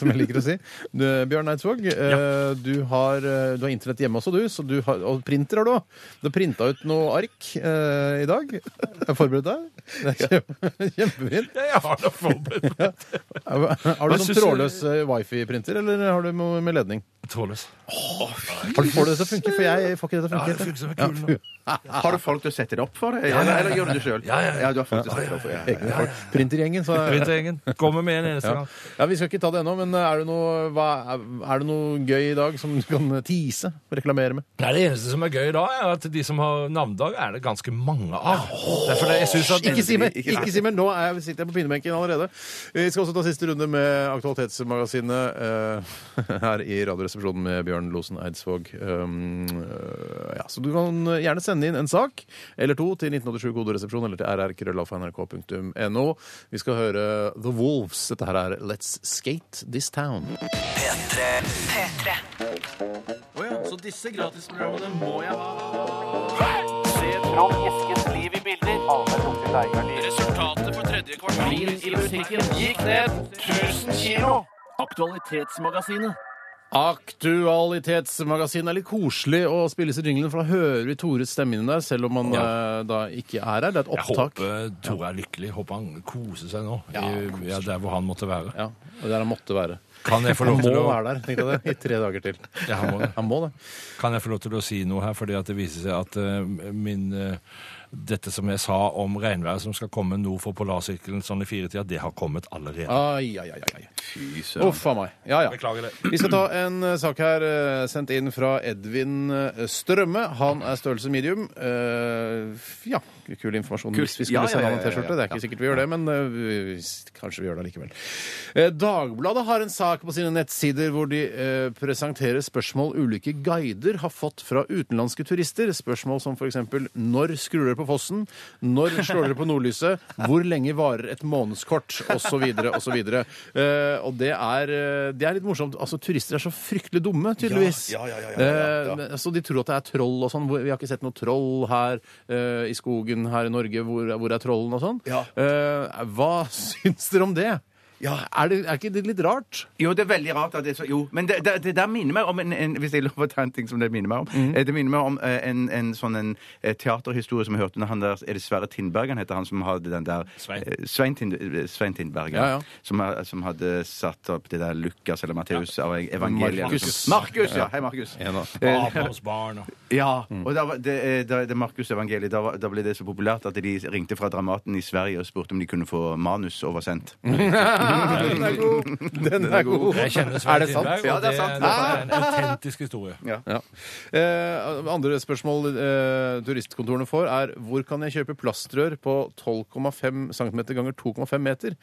som jeg liker å si. Du, Bjørn Eidsvåg, eh, du, har, eh, du har internett hjemme også, du. Så du har, og printer har du òg. Du har printa ut noe ark eh, i dag. Har du forberedt deg? Det er kjempe, kjempefint. Ja, jeg har da forberedt meg. Har du Hva sånn synes du- trådløs eh, wifi-printer, eller har du noe med ledning? Trådløs. Har du- Får du det til å funke? For jeg får ikke det til å Ja, funke. det funker som en kule nå. Har du folk til å sette det opp for deg, eller, eller gjør du det sjøl? Ja, ja, ja. du har folk til å sette det opp for deg. Ja, ja, Egne folk. Printergjengen, sa jeg. Vintergjengen. Kommer med en eneste Ja. gang. ja, Vi skal ikke ta det ennå, men eh, er det, noe, hva, er det noe gøy i dag som du kan eh, tease? Reklamere med? Nei, Det eneste som er gøy da, er at de som har navnedag, er det ganske mange av. Derfor det, jeg synes at Ikke si mer! ikke- Ikke si mer. Nå er jeg, sitter jeg på pinebenken allerede. Vi skal også ta siste runde med Aktualitetsmagasinet eh, her i Radioresepsjonen med Bjørn Losen Eidsvåg. Um, eh, ja, så du kan gjerne sende inn en sak eller to til 1987 Koderesepsjon eller til rrkrøllalfa.nrk.no. Vi skal høre The Wolves. Dette her er Let's Skate This Town. P3. P3. Resultatet på tredje kvartal i butikken gikk ned 1000 kilo. Aktualitetsmagasinet Aktualitetsmagasinet er litt koselig å spille disse jinglene, for da hører vi Tores stemme inni der, selv om han eh, da ikke er her. Det er et Jeg opptak. håper Tore er lykkelig. Håper han koser seg nå, Ja, i, ja, der hvor han måtte være. Ja, og der han måtte være. Kan jeg få Han lov må til å, være der, tenkte jeg det, i tre dager til. Ja, han må det. Han må det. kan jeg få lov til å si noe her, fordi at det viser seg at eh, min eh, dette som jeg sa om regnværet som skal komme nord for polarsirkelen sånn i firetida, det har kommet allerede. Ai, ai, ai, ai. Fy søren. Uff a meg. Ja, ja. Beklager det. Vi skal ta en eh, sak her eh, sendt inn fra Edvin eh, Strømme. Han er størrelse medium. Eh, f- ja, kul informasjon hvis vi skulle Ja, ja, sende han en ja, ja, ja. T-skjorte. Det er ikke sikkert vi gjør det, men eh, vi- vi- kanskje vi gjør det likevel. Eh, Dagbladet har en sak på sine nettsider hvor de eh, presenterer spørsmål ulike guider har fått fra utenlandske turister. Spørsmål som f.eks.: Når skrur dere på fossen? Når slår dere på nordlyset? Hvor lenge varer et månedskort? Osv. osv. Eh, og det er, eh, det er litt morsomt. Altså, Turister er så fryktelig dumme, tydeligvis. Ja, ja, ja, ja, ja, ja. Eh, men- så de tror at det er troll og sånn. Hvor- Vi har ikke sett noe troll her eh, i skogen her i Norge. Hvor, hvor er trollen og sånn? Ja. Eh, hva syns dere om det? Ja. Er, det, er ikke det litt rart? Jo, det er veldig rart at det er så Jo, men det, det, det der minner meg om en, en Hvis jeg lover å ta en ting som det minner meg om Mhm. eh, Det minner meg om eh, en, en sånn en eh, teaterhistorie som jeg hørte når han der Er det Sverre Tindberg han heter, han som hadde den der Svein. eh, Svein, Tind, eh, Svein Tindberg, Ja, ja. Som, har- som hadde satt opp det der Lukas eller Matteus av evangeliet. Markus. Ah. liksom. Markus, ja. Hei, Markus. Eh, Abrahams barn og Ja, Mm. og da var det, eh, da, det Markus-evangeliet da, var- da ble det så populært at de ringte fra Dramaten i Sverige og spurte om de kunne få manus oversendt. Den er god! Den er god. Jeg kjenner Er Svein det sant? Ah. Tindberg, Ja, og det er sant. det er en autentisk historie. Ja. Eh, andre spørsmål eh, turistkontorene får, er hvor kan jeg kjøpe plastrør på 12,5 cm ganger 2,5 meter?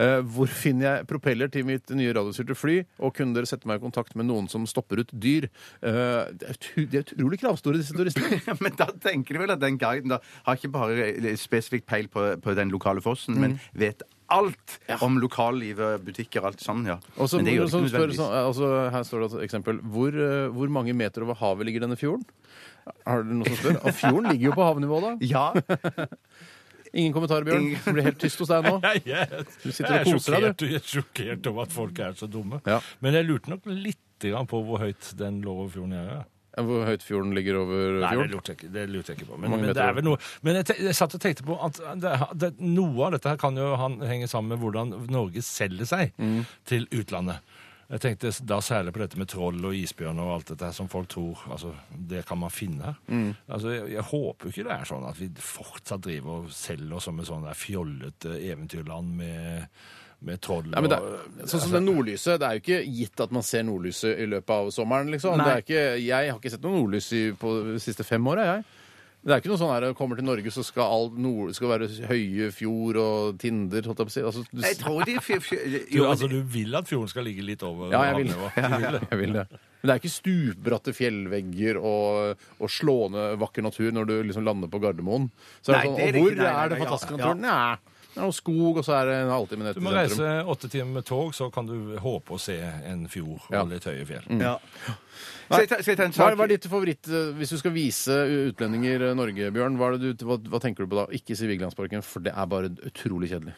Eh, hvor finner jeg propeller til mitt nye radiostyrte fly? Og kunne dere sette meg i kontakt med noen som stopper ut dyr? Eh, det er utro- de er utrolig kravstore, disse turistene. Men da tenker de vel at den guiden da har ikke bare eh, spesifikt peil på, på den lokale fossen, Mm. men vet alt om lokallivet, butikker og alt sammen, ja. Og så, men hvor- så spør, nødvendigvis. så, altså, her står det et eksempel. Hvor, eh, hvor mange meter over havet ligger denne fjorden? Har dere noen som spør? Og fjorden ligger jo på havnivå, da. Ja, Ingen kommentar, Bjørn. Ingen- Det blir helt tyst hos deg nå. Nei, jeg, Du sitter jeg, er og koser deg, sjokkert, jeg er sjokkert over at folk er så dumme. Ja. Men jeg lurte nok litt grann på hvor høyt den lå over fjorden jeg er. Hvor høyt fjorden ligger over Nei, det fjorden? lurte jeg ikke, det lurte jeg ikke på. Men, Mange men, det meter er vel noe, men jeg, te, jeg satt og tenkte på at eh, det, det, noe av dette her kan jo han henge sammen med hvordan Norge selger seg Mm. til utlandet. Jeg tenkte s- da særlig på dette med troll og isbjørn og alt dette her som folk tror altså, det kan man finne. Mm. Altså, jeg, jeg håper jo ikke det er sånn at vi fortsatt driver og selger oss som et sånn der fjollete eventyrland med, med troll Nei, men det, og Altså, sånn som det nordlyset, det er jo ikke gitt at man ser nordlyset i løpet av sommeren, liksom. Det er ikke, jeg har ikke sett noe nordlys i, på de siste fem åra, jeg. Det er ikke noe sånn her kommer til Norge, så skal alt nord, skal være høye fjord og Tinder, holdt jeg på å si. Altså, du, jeg tror de fy- fy- Du, jo, altså, du vil at fjorden skal ligge litt over Ja, jeg vil. havnivå. Du vil det. jeg vil det. Men det er ikke stupbratte fjellvegger og, og slående vakker natur når du liksom lander på Gardermoen. Så er det Nei, sånn, det er riktig. og Nei, hvor nei, er det nei, ja, fantastiske ja. naturen? Nei, det er noe skog, og så er det en halvtime nett Du i må sentrum. reise åtte timer med tog, så kan du håpe å se en fjord Ja. og litt høye fjell. ja. Skal jeg ta- skal jeg ta en Hva sak? er, hva er ditt favoritt eh, hvis du skal vise utlendinger eh, Norge, Bjørn? Hva, er det du, hva, hva tenker du på da? Ikke si Vigelandsparken, for det er bare utrolig kjedelig.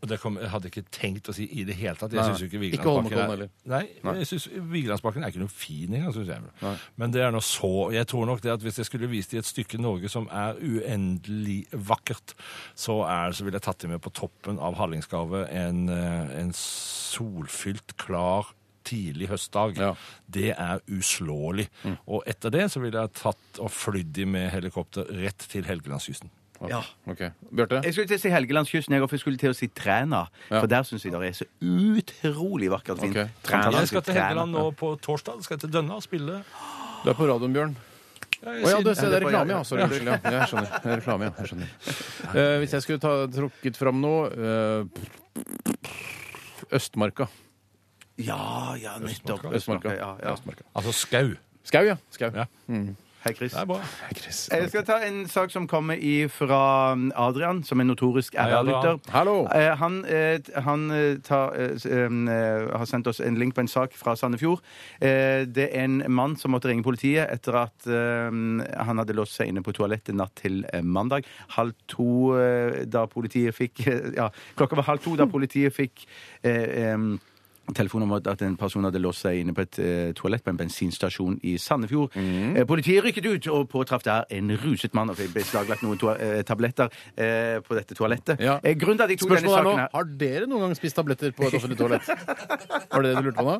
Og det kom, jeg hadde ikke tenkt å si i det hele tatt. Jeg Nei, synes jo ikke ikke Vigelandsbakken Holmenkollen er, heller. nei, jeg synes Vigelandsbakken er ikke noe fin engang, synes jeg. Men det er nå så Jeg tror nok det at hvis jeg skulle vist dem et stykke Norge som er uendelig vakkert, så, er, så ville jeg tatt dem med på toppen av Hallingskarvet en, eh, en solfylt, klar tidlig høstdag. Ja. Mm. Det er uslåelig. Og etter det så ville jeg tatt og flydd dem med helikopter rett til Helgelandskysten. Ja. Ok, Bjørte? Jeg skulle til å si Helgelandskysten, jeg, og jeg skulle til å si Træna. For der syns jeg det er så utrolig vakkert fint. Ok. Træna, Jeg skal til Træna. Helgeland nå på torsdag. Skal jeg til Dønna og spille. Du er på radioen, Bjørn. Ja, Å ja, du, siden- se, det er på- reklame, ja, ja. Sorry, unnskyld. Ja. Jeg skjønner. Det er reklame, ja. Jeg skjønner. Eh, hvis jeg skulle ta, trukket fram noe eh, Østmarka. Ja, ja, nettopp. Østmarka. Ja, ja. Østmarka. Altså skau. Skau, ja. Skau. Ja. Hei, Chris. Det er bra. Jeg Eh, altså. skal ta en sak som kommer ifra Adrian, som er notorisk Adrian. RR-lytter. Hallo. Eh, Han, eh, t- han eh, tar, eh, s- em, eh, har sendt oss en link på en sak fra Sandefjord. Eh, Det er en mann som måtte ringe politiet etter at em, han hadde låst seg inne på toalettet natt til eh, mandag. Halv to eh, da politiet fikk Ja, klokka var halv to da politiet fikk eh, em, telefon om at- at en person hadde låst seg inne på et eh, toalett på en bensinstasjon i Sandefjord. Eh, politiet rykket ut og påtraff der en ruset mann og fikk beslaglagt noen toa- eh, tabletter eh, på dette toalettet. Ja. Eh, grunnen til at jeg tok denne Spørsmålet er nå, saken her Har dere noen gang spist tabletter på et offentlig toalett? Var det det du lurte på nå?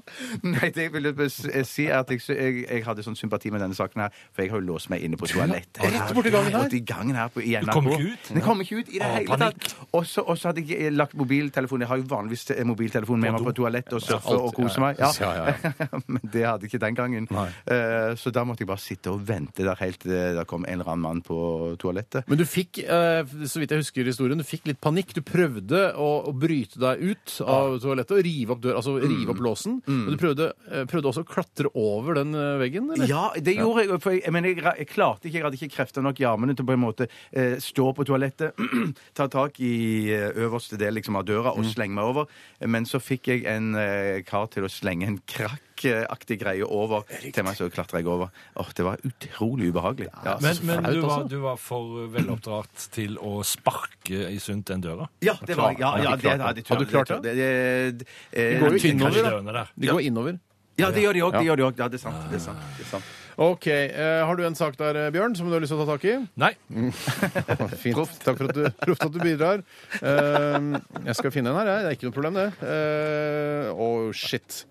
Nei, det jeg ville s- eh, si er at jeg, sy- jeg, jeg hadde sånn sympati med denne saken her, for jeg har jo låst meg inne på toalettet. Rett borti gangen her? Borti gangen her på, i NRK. kom ikke ut? Jeg kom ikke ut i det hele tatt. Og så og så hadde jeg eh, lagt mobiltelefonen Jeg har jo vanligvis eh, mobiltelefonen med meg på toalettet og surfe alt, og kose ja, meg. ja. Ja, Men det hadde jeg ikke den gangen. Eh, Så da måtte jeg bare sitte og vente der helt til det kom en eller annen mann på toalettet. Men du fikk, eh, så vidt jeg husker historien, du fikk litt panikk. Du prøvde å, å bryte deg ut av toalettet og rive opp døra, altså rive Mm. opp låsen. Men du prøvde, eh, prøvde også å klatre over den eh, veggen, eller? Ja, det gjorde jeg. For jeg, men jeg, ra- jeg klarte ikke, jeg hadde ikke krefter nok i armene til på en måte eh, stå på toalettet, ta tak i eh, øverste del liksom, av døra og slenge meg over. Men så fikk jeg en eh, kar til å slenge en krakkaktig greie over til meg, så klatra jeg over. Åh, Det var utrolig ubehagelig. Ja, Men, så- men flaut, du, var, altså. du var for veloppdratt til å sparke i sunt den døra? ja, det var ja, ja, det, ja, det tør- Hadde du klart det? tør- det- eh, går jo kanskje- innover, da. Dørene der. De går innover. Ja, det gjør de òg. Det gjør de òg. Ja, det er sant. Det er sant. Det er sant. OK. eh, har du en sak der, eh, Bjørn, som du har lyst til å ta tak i? Nei. Fint. Takk for at du, proft at du bidrar. Eh, jeg skal finne en her, jeg. Det er ikke noe problem, det. Eh, oh, shit.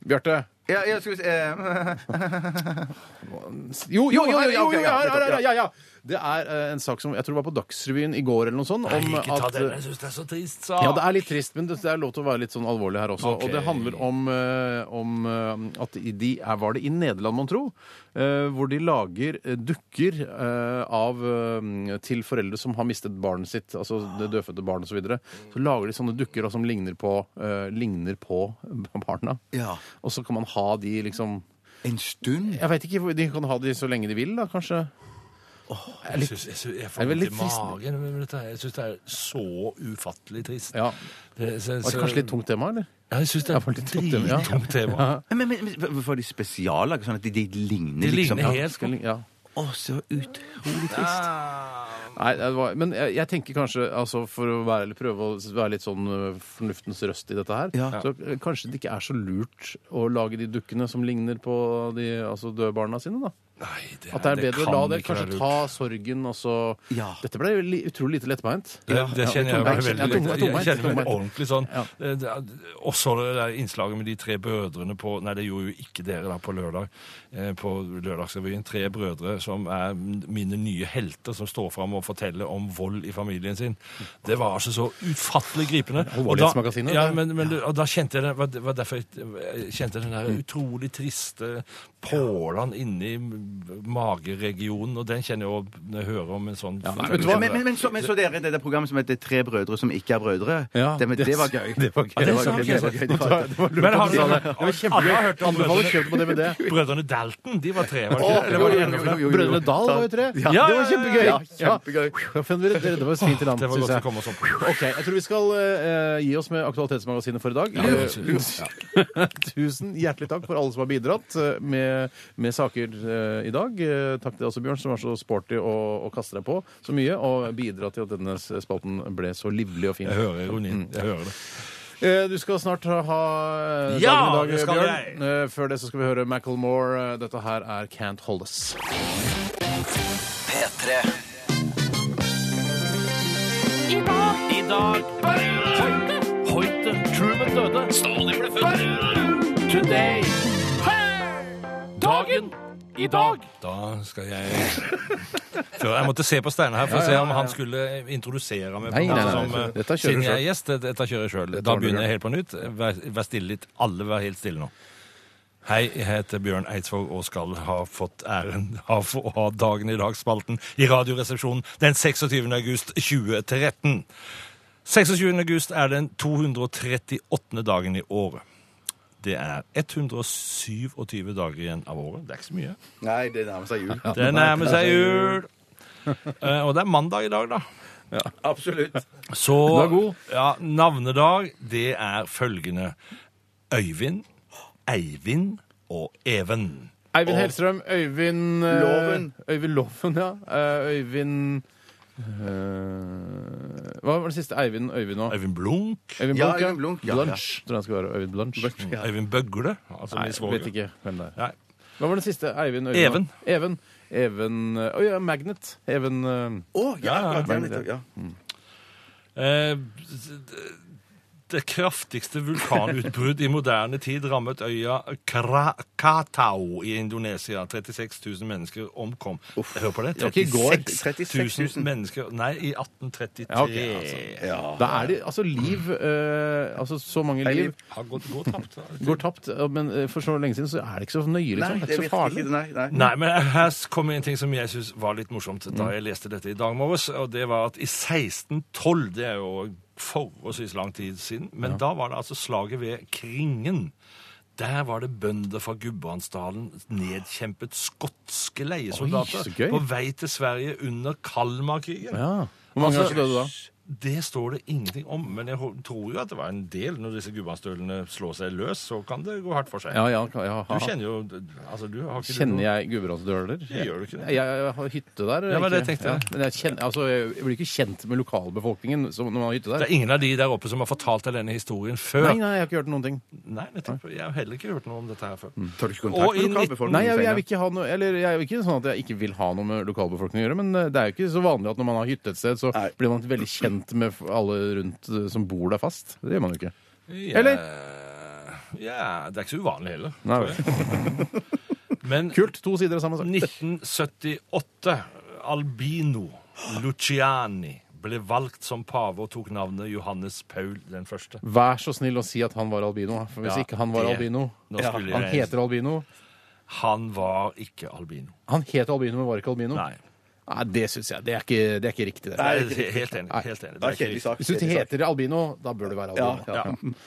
Bjarte. Ja, jeg skulle si eh, Jo, jo, jo, jo, her, jo, ok, jo, ja, her, her, nettopp, her, ja, ja. Det er eh, en sak som jeg tror var på Dagsrevyen i går eller noe sånt. Om Ikke ta at, den. Jeg syns det er så trist, sa ja, det er litt trist, men det det er lov til å være litt sånn alvorlig her også. Ok. Og det handler om, eh, om eh, at i de er, Var det i Nederland, mon tro? Eh, hvor de lager eh, dukker eh, av eh, til foreldre som har mistet barnet sitt, altså det dødfødte barnet osv. Så, videre. så lager de sånne dukker da, som ligner på, eh, ligner på barna. Ja. Og så kan man ha de liksom En stund? Jeg vet ikke, De kan ha de så lenge de vil, da, kanskje? Jeg synes- jeg synes- jeg får Er det vondt i litt trist? magen. med dette her. Jeg syns det er så ufattelig trist. Ja. Det, så, Var det kanskje litt tungt tema, eller? Ja, jeg syns det Ja, er for et litt tungt tema, ja. drittungt tema. Men, men, men Får de spesiallaget sånn at de, de ligner, Det liksom? ligner Ja. helt Skal- sånn, Ja. Å, så utrolig trist. Ah, Nei, det var, men jeg, jeg tenker kanskje, altså for å være, eller prøve å være litt sånn øh, fornuftens røst i dette her, Ja. så øh, kanskje det ikke er så lurt å lage de dukkene som ligner på de altså døde barna sine, da. Nei, det, At det er bedre å kan la det ikke være kanskje lurt. ta sorgen og så Ja. Dette ble jo li, utrolig lite lettbeint. Det, det kjenner jeg meg tungbeint. Ja, veldig litt. tungbeint, Jeg kjenner meg tungbeint. ordentlig sånn. Ja. Eh, det er- Også det der innslaget med de tre brødrene på Nei, det gjorde jo ikke dere da på lørdag. eh, På Lørdagsrevyen. Tre brødre som er mine nye helter, som står fram og forteller om vold i familien sin. Det var altså så ufattelig gripende. Og da- Alvorlighetsmagasinet, Ja, det. men, men og da kjente jeg det var, var derfor jeg, jeg kjente den der utrolig triste pålan inni mageregionen, og den kjenner jeg jo når jeg hører om en sånn vet du hva? Men, men, men, så, men så dere det der programmet som heter Tre brødre som ikke er brødre? Ja, det, men, det var gøy. Det var gøy. Det var gøy. Det var gøy. Det var- Men har du sa det? du- Det var Alle har kjempegøy. hørt om Anbefaler brødrene- kjøp på DVD. Brødrene Dalton, de var tre, var det ikke? Eller var det enda flere? Brødrene Dal var jo tre. Ja, ja, det var ja, kjempegøy. ja, Ja, men dere- dere- Det var et fint land, Det var synes godt å jeg. komme oss opp. Ok, jeg tror vi skal eh, gi oss med Aktualitetsmagasinet for i dag. det Eh, synes jeg. tusen- Tusen hjertelig takk for alle som har bidratt eh, med, med saker eh, i dag. Eh, takk til deg også, Bjørn, som var så sporty og, og kastet deg på så mye, og bidra til at denne spalten ble så livlig og fin. Jeg hører ironien. Jeg hører det. Eh, du skal snart ha eh, Ja, dagen i dag, det skal Bjørn. Eh, før det så skal vi høre Macclemore. Eh, Dette her er Can't Hold Us. P3 I dag Hoite Truman døde. Stalin ble født. Today. Dagen i dag. Da skal jeg Før Jeg måtte se på Steinar her for å se om han skulle introdusere meg. på Nei, noe nei, nei, som, nei. eh, Dette kjører siden du jeg er gjest, det- dette kjører jeg sjøl. Da ordner du. begynner jeg helt på nytt. Vær, vær stille litt. Alle, vær helt stille nå. Hei, jeg heter Bjørn Eidsvåg og skal ha fått æren av å ha Dagen i dag-spalten i Radioresepsjonen den 26. august 2013. 26. august er den 238. dagen i året. Det er 127 dager igjen av året. Det er ikke så mye. Nei, det nærmer seg jul. Det nærmer seg jul. Eh, Og det er mandag i dag, da. Absolutt. Så ja, navnedag, det er følgende. Øyvind, Eivind og Even. Eivind Hellstrøm, Øyvind eh, Loven. Øyvind Loven, ja. Eh, Øyvind Eh, hva var det siste? Eivind Øyvind nå? Øyvind Blunk? Øyvind Ja, Blunk, ja. Øyvind Blunk, ja, ja. Blunch, tror jeg han skal være. Øyvind Blunch. Øyvind Bøgle? Altså Nei, jeg min vet svoger. ikke hvem det er. Nei. Hva var det siste? Eivind Øyvind? nå? Even. Even eh, Å ja, Magnet. Even eh, Å, ja, sånn akkurat den, ja. ja. Eh, det- det kraftigste vulkanutbrudd i moderne tid rammet øya Krakatau i Indonesia. 36 000 mennesker omkom. Hør på det. var ikke i går. 36 000 mennesker Nei, i 1833. Ja, ok, altså. Da er det altså liv eh, Altså så mange Nei, liv liv. Har gått, gått tapt. da. går tapt, eh, men eh, for så lenge siden så er det ikke så nøye, liksom. Nei, det det er ikke så virker farlig. ikke. Nei, nei. Nei, men her kommer en ting som jeg syns var litt morsomt da jeg leste dette i dag morges. Og det var at i 1612, det er jo forholdsvis lang tid siden, men da var det altså slaget ved Kringen. Der var det bønder fra Gudbrandsdalen nedkjempet skotske Oi, leiesoldater så gøy. på vei til Sverige under Kalmarkrigen. Ja. Ah. Hvor Altså- mange ganger døde du da? Det står det ingenting om, men jeg hå- tror jo at det var en del. Når disse gudbrandsdølene slår seg løs, så kan det gå hardt for seg. Ja, ja, ja, Du ja. kjenner jo altså, du, har ikke du Kjenner noe- jeg Gudbrandsdøler? Det gjør du ikke det. Jeg, jeg har hytte der. Ja, men det ikke- tenkte jeg. men jeg, kjenner, altså, jeg blir ikke kjent med lokalbefolkningen som, når man har hytte Det der. er ingen av de der oppe som har fortalt deg denne historien før. Nei, nei, jeg har ikke hørt noen ting. Nei, nettopp. Jeg har heller ikke hørt noe om dette her før. Mm. Tar du ikke Og kontakt i med Nei, jeg, lokalbefolkningen? jeg vil ikke ha noe Eller jeg er jo ikke sånn at jeg ikke vil ha noe med lokalbefolkningen å gjøre, men eh, det er jo ikke så vanlig at når man har hytte et sted, så Nei. blir man veldig kjent med f- alle rundt eh, som bor der fast. Det gjør man jo ikke. Ja, Ja, det er ikke så uvanlig heller. Nei, tror jeg. vel. Men Kult. To sider av samme sak. 1978, Albino Luciani ble valgt som pave og tok navnet Johannes Paul den første. Vær så snill å si at han var albino, for hvis Ja, ikke han var det- albino Nå skulle Han jeg... heter albino. Han var ikke albino. Han het albino, men var ikke albino. Nei. Nei, det syns jeg. Det er ikke, det er ikke riktig, det. Jeg er Helt enig. Helt enig. Det er kjedelig riktig. sak. Hvis du kjedelig sak. heter albino, da bør du være albino. Ja, ja.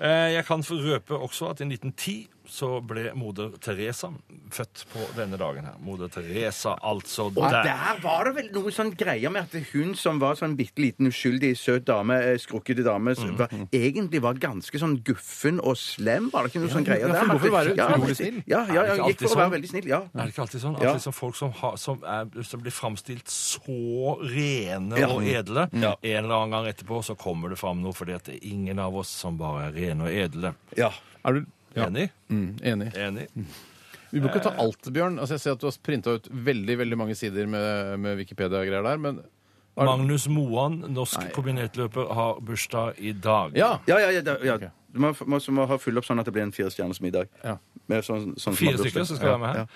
Eh, Jeg kan få røpe også at i 1910 så ble moder Teresa født på denne dagen her. Moder Teresa, altså Og der. der var det vel noe sånn greier med at hun som var sånn bitte liten uskyldig søt dame, eh, skrukkete dame, som var, egentlig var ganske sånn guffen og slem. Var det ikke noe sånn greier ja, der? for hun går for å være Ja, utrolig snill. Ja, ja, Er det ja, ikke hun gikk for alltid å sånn? være veldig snill. Ja. Er det ikke alltid sånn at Ja. liksom folk som, har, som, er, som blir framstilt så rene og edle, en eller annen gang etterpå så kommer det fram noe fordi at det er ingen av oss som bare er rene og edle. ja. Er du ja. Enig? mm, enig? Enig? Vi bør ikke ta alt, Bjørn. Altså, jeg ser at du har printa ut veldig veldig mange sider med, med Wikipedia-greier der, men Har- Magnus Moan, norsk kombinertløper, har bursdag i dag. Ja! Ja, ja, ja, det- ja. Du må, må, så må ha fylle opp sånn at det blir en firestjerners middag. Ja. Med sånn, sånn som Fire har bursdag. stykker som skal være med her.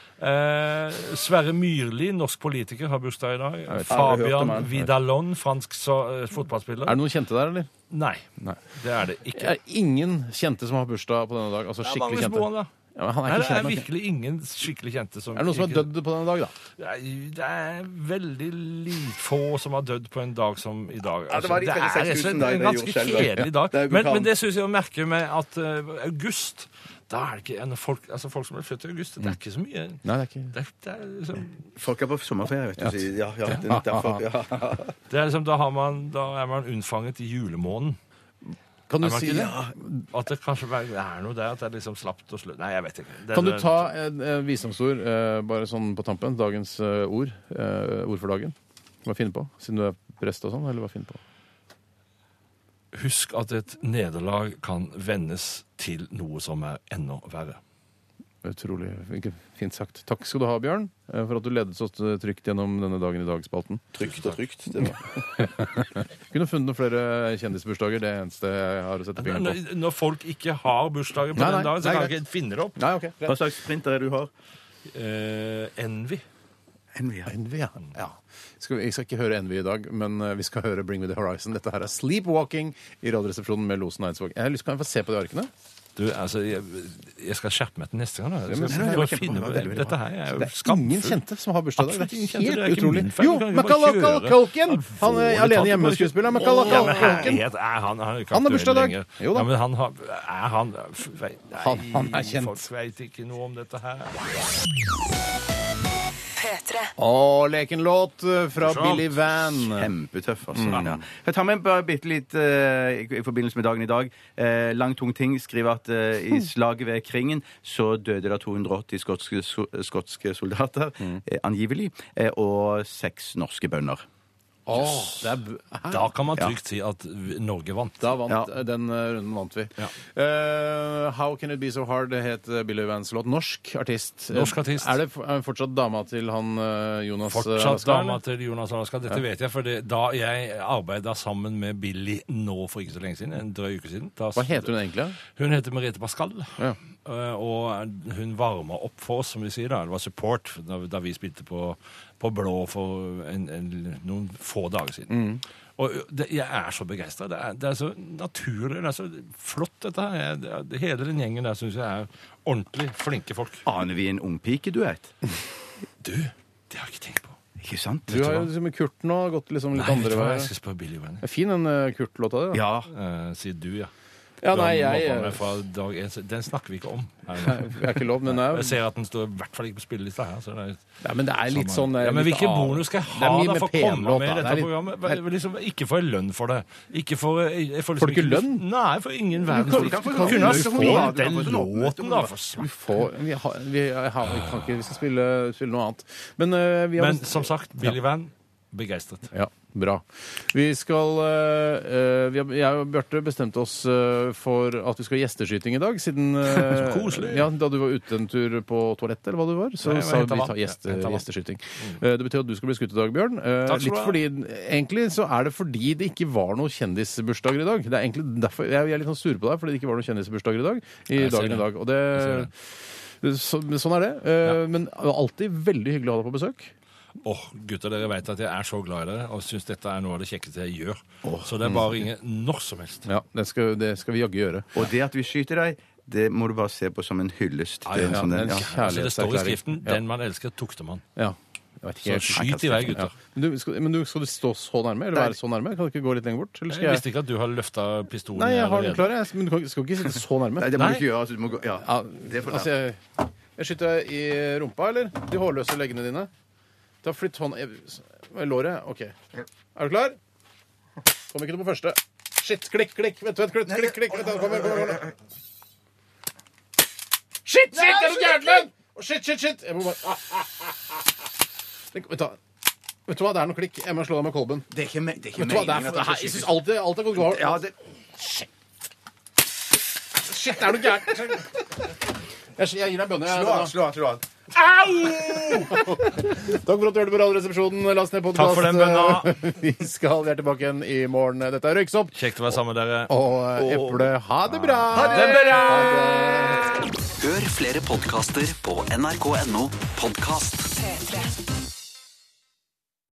Eh, Sverre Myrli, norsk politiker, har bursdag i dag. vet ikke. Jeg har hørt om Fabian han. Vidalon, fransk så, eh, fotballspiller. Er det noen kjente der, eller? Nei, Nei. det er det ikke. Det er ingen kjente som har bursdag på denne dag. Altså Det er Magnus skikkelig kjente. Moan, da. Ja, men han Nei, er det ikke er kjent. nok. virkelig ingen skikkelig kjente som Er det noen som er ikke- dødd på denne dag, da? Nei, Det er veldig li- få som har dødd på en dag som i dag. Ja, det var de Altså, 36 000 rett og slett da jeg en gjorde ganske selv, da. kjedelig dag. Det er jo men, vulkan. men det syns jeg å merke med at eh, august da er det ikke, en- folk, altså folk som er født i august, det er ikke så Nei, mye det er ikke det er, det er liksom Folk er på sommerferie, vet du. så- Ja, ja, det er derfor, ja. Det er liksom, da, har man, da er man unnfanget i julemåneden. Kan du Er man si ikke- det? At det kanskje bare det er noe der at det er liksom slapt og slutt. Nei, jeg vet ikke. Det, Kan du det- ta en, eh, visdomsord eh, bare sånn på tampen? Dagens eh, ord. eh, ord for dagen. Hva finner du på? Siden du er prest og sånn, eller hva finner du på? Husk at et nederlag kan vendes til noe som er enda verre. Utrolig ikke fint sagt. Takk skal du ha, Bjørn, eh, for at du ledet så trygt gjennom denne Dagen i dag-spalten. Trygt og trygt. Det var. Kunne funnet noen flere kjendisbursdager. Det er det eneste jeg har å sette fingeren på. Når, når folk ikke har bursdager på Nei, nei, den dagen, så nei, kan greit. jeg ikke finne det opp. Nei, ok. Hva slags printer er det du har? Eh, envy. Envy. ja. Envy, ja. ja. Skal vi, jeg skal ikke høre Envy i dag, men eh, vi skal høre Bring Me The Horizon. Dette her er Sleepwalking i Radioresepsjonen med Losen og Eidsvåg. Jeg har lyst til å få se på de arkene. Du, altså, jeg, jeg skal skjerpe meg til neste gang. Da. Jeg men- skal Nei, nei, prøve det å var finne kjempebra, ut- veldig bra. Dette her er jo Det er ingen skamfullt. kjente som har bursdag i dag. Absolutt Det ingen er kjente, det helt er ikke utrolig. min feil. Jo, Du kan jo bare Macaulay kjøre. Culkin! Han er Alvorlig alene talt, du kan jo hjemmeskuespiller. kjøre. Ja, Macaulay men Culkin. herlighet, er han, han er jo ikke Han er aktuell bursdag i dag. lenger. Jo da. Ja, men han har, er han f- vei- Nei, Han- han er kjent. Folk veit ikke noe om dette her. P3. Og lekenlåt eh, fra Morsomt. Billy Van. Kjempetøff, altså. Ja. Jeg tar med bare bitte litt eh, i, i forbindelse med dagen i dag. Eh, lang, tung ting skriver at eh, i slaget ved Kringen så døde det 280 skotske, so- skotske soldater, eh, angivelig, eh, og seks norske bønder. Åh, det er b- Hæ? Da kan man trygt si at v- Norge vant. Da vant Ja. den eh, runden vant vi. Eh, How Can It Be So Hard het eh, Billy Vans låt. Norsk artist. Norsk artist. Er det f- er det fortsatt dama til han eh, Jonas Fortsatt Alaska, eller? dama til Jonas Alaska. Dette vet jeg, for det, da jeg arbeida sammen med Billy nå for ikke så lenge siden, en drøy uke siden da, Hva heter hun egentlig? Hun heter Merete Pascal. Ja. Eh, Og hun varma opp for oss, som vi sier. da. Det var support da, da vi spilte på, på Blå for en, en, noen få dager siden. Mm. Og det, jeg er så begeistra. Det, er- det er så naturlig. Det er så flott, dette her. Jeg, det, det- hele den gjengen der syns jeg er ordentlig flinke folk. Aner vi en ungpikeduett? Du, det har jeg ikke tenkt på. Ikke sant? Du har jo liksom Kurt nå gått liksom litt Nei, vet andre du hva, veier. jeg skal spørre Billy Wenner. Det er fin den eh, Kurt-låta di. da. Ja. Uh, sier du, ja. Ja, Du nei, har jeg, eh, mobba meg jeg, fra dag én, så Den snakker vi ikke om. her nå. jeg er ikke lov, men eh, det er, Jeg ser at den står i hvert fall ikke på spillelista her. Så det er ja, men det er litt sånn Samme- eh, ja, Men litt hvilken av- bonus skal jeg Det ha er mye da for å pen komme låt, med da. i dette Det er litt- programmet? Hva- Liksom, ikke får jeg lønn for det. Ikke får jeg, jeg får Får du liksom ikke lønn? Nei, jeg får ingen verdens du kan få Kunne ha lønn. spilt Du kan den få sånn låten, da. For Vi, svart. får, vi, har, vi, har, vi kan ikke Vi skal spille, spille noe annet. Men eh, vi har Men som sagt, Billy Van begeistret. Ja, bra. Vi skal eh, eh, vi har, Jeg og Bjarte bestemte oss eh, for at vi skal ha gjesteskyting i dag, siden eh, Så koselig. Ja, Da du var ute en tur på toalettet, eller hva du var, så Nei, jeg var sa hentet vi vann. ta gjeste, Ja, hentet vann. gjesteskyting. Eh, det betyr at du skal bli skutt i dag, Bjørn. Eh, Takk skal litt du fordi, Egentlig så er det fordi det ikke var noen kjendisbursdager i dag. Det er egentlig derfor Jeg, jeg er litt sånn sur på deg fordi det ikke var noen kjendisbursdager i dag. I Jeg ser dagen det. i dag. Og det, Jeg så, men sånn er det. Eh, Men alltid veldig hyggelig å ha deg på besøk. Åh, gutter, dere vet at jeg er så glad i dere og syns dette er noe av det kjekkeste jeg gjør. Så det er mm. bare å ringe når som helst. Ja, Det skal, det skal vi jaggu gjøre. Og det at vi skyter deg, det må du bare se på som en hyllest. Ja, til ja, en sånn ja, den, en ja. Altså, det står i Kjærlighetserklæring. skriften Ja. 'Den man elsker, tukter man'. Ja. Jeg vet ikke Så helt. skyt i vei, gutter. Men, du, skal, men du, skal du stå så nærme? Eller være så nærme? Kan du ikke gå litt lenger bort? Eller Jeg skal jeg visste ikke at du har løfta pistolen. Nei, jeg har allerede. den klar, jeg. Men du kan, skal ikke sitte så nærme. Nei, det må Nei. du ikke gjøre. Altså, du må gå, ja. Ja, det får du altså, jeg, jeg skyter deg i rumpa, eller? De hårløse leggene dine. Ta flytt hånda jeg- s- Låret? OK. Er du klar? Kom ikke noe på første. Shit, klikk, klikk, vent, vent, klikk, klikk, klikk. Vent, vent, kom, igjen, kom, igjen, kom. igjen. Shit, shit, er du gæren? Å, Shit, shit, shit. Jeg må bare ah, ah, ah, ah, ah. Tenk, Vet du hva? Vet du hva, det er noe klikk. Jeg må slå deg med kolben. Det er ikke, me det er ikke Vet du hva, det er, meningen at det skal er, jeg skytes. syns alt, alt er gått galt. Ja, det, Shit, det er noe gærent. Jeg, jeg gir deg bønner. jeg, slå nå. av, slå av, slå av. Takk for at du hørte på Radioresepsjonen. Last ned podkast. Takk for den bønna. Vi skal vi er tilbake igjen i morgen. Dette er Røyksopp Kjekt å være sammen med dere. og eh, Eple. Ha det bra! Hør flere podkaster på nrk.no podkast. P3.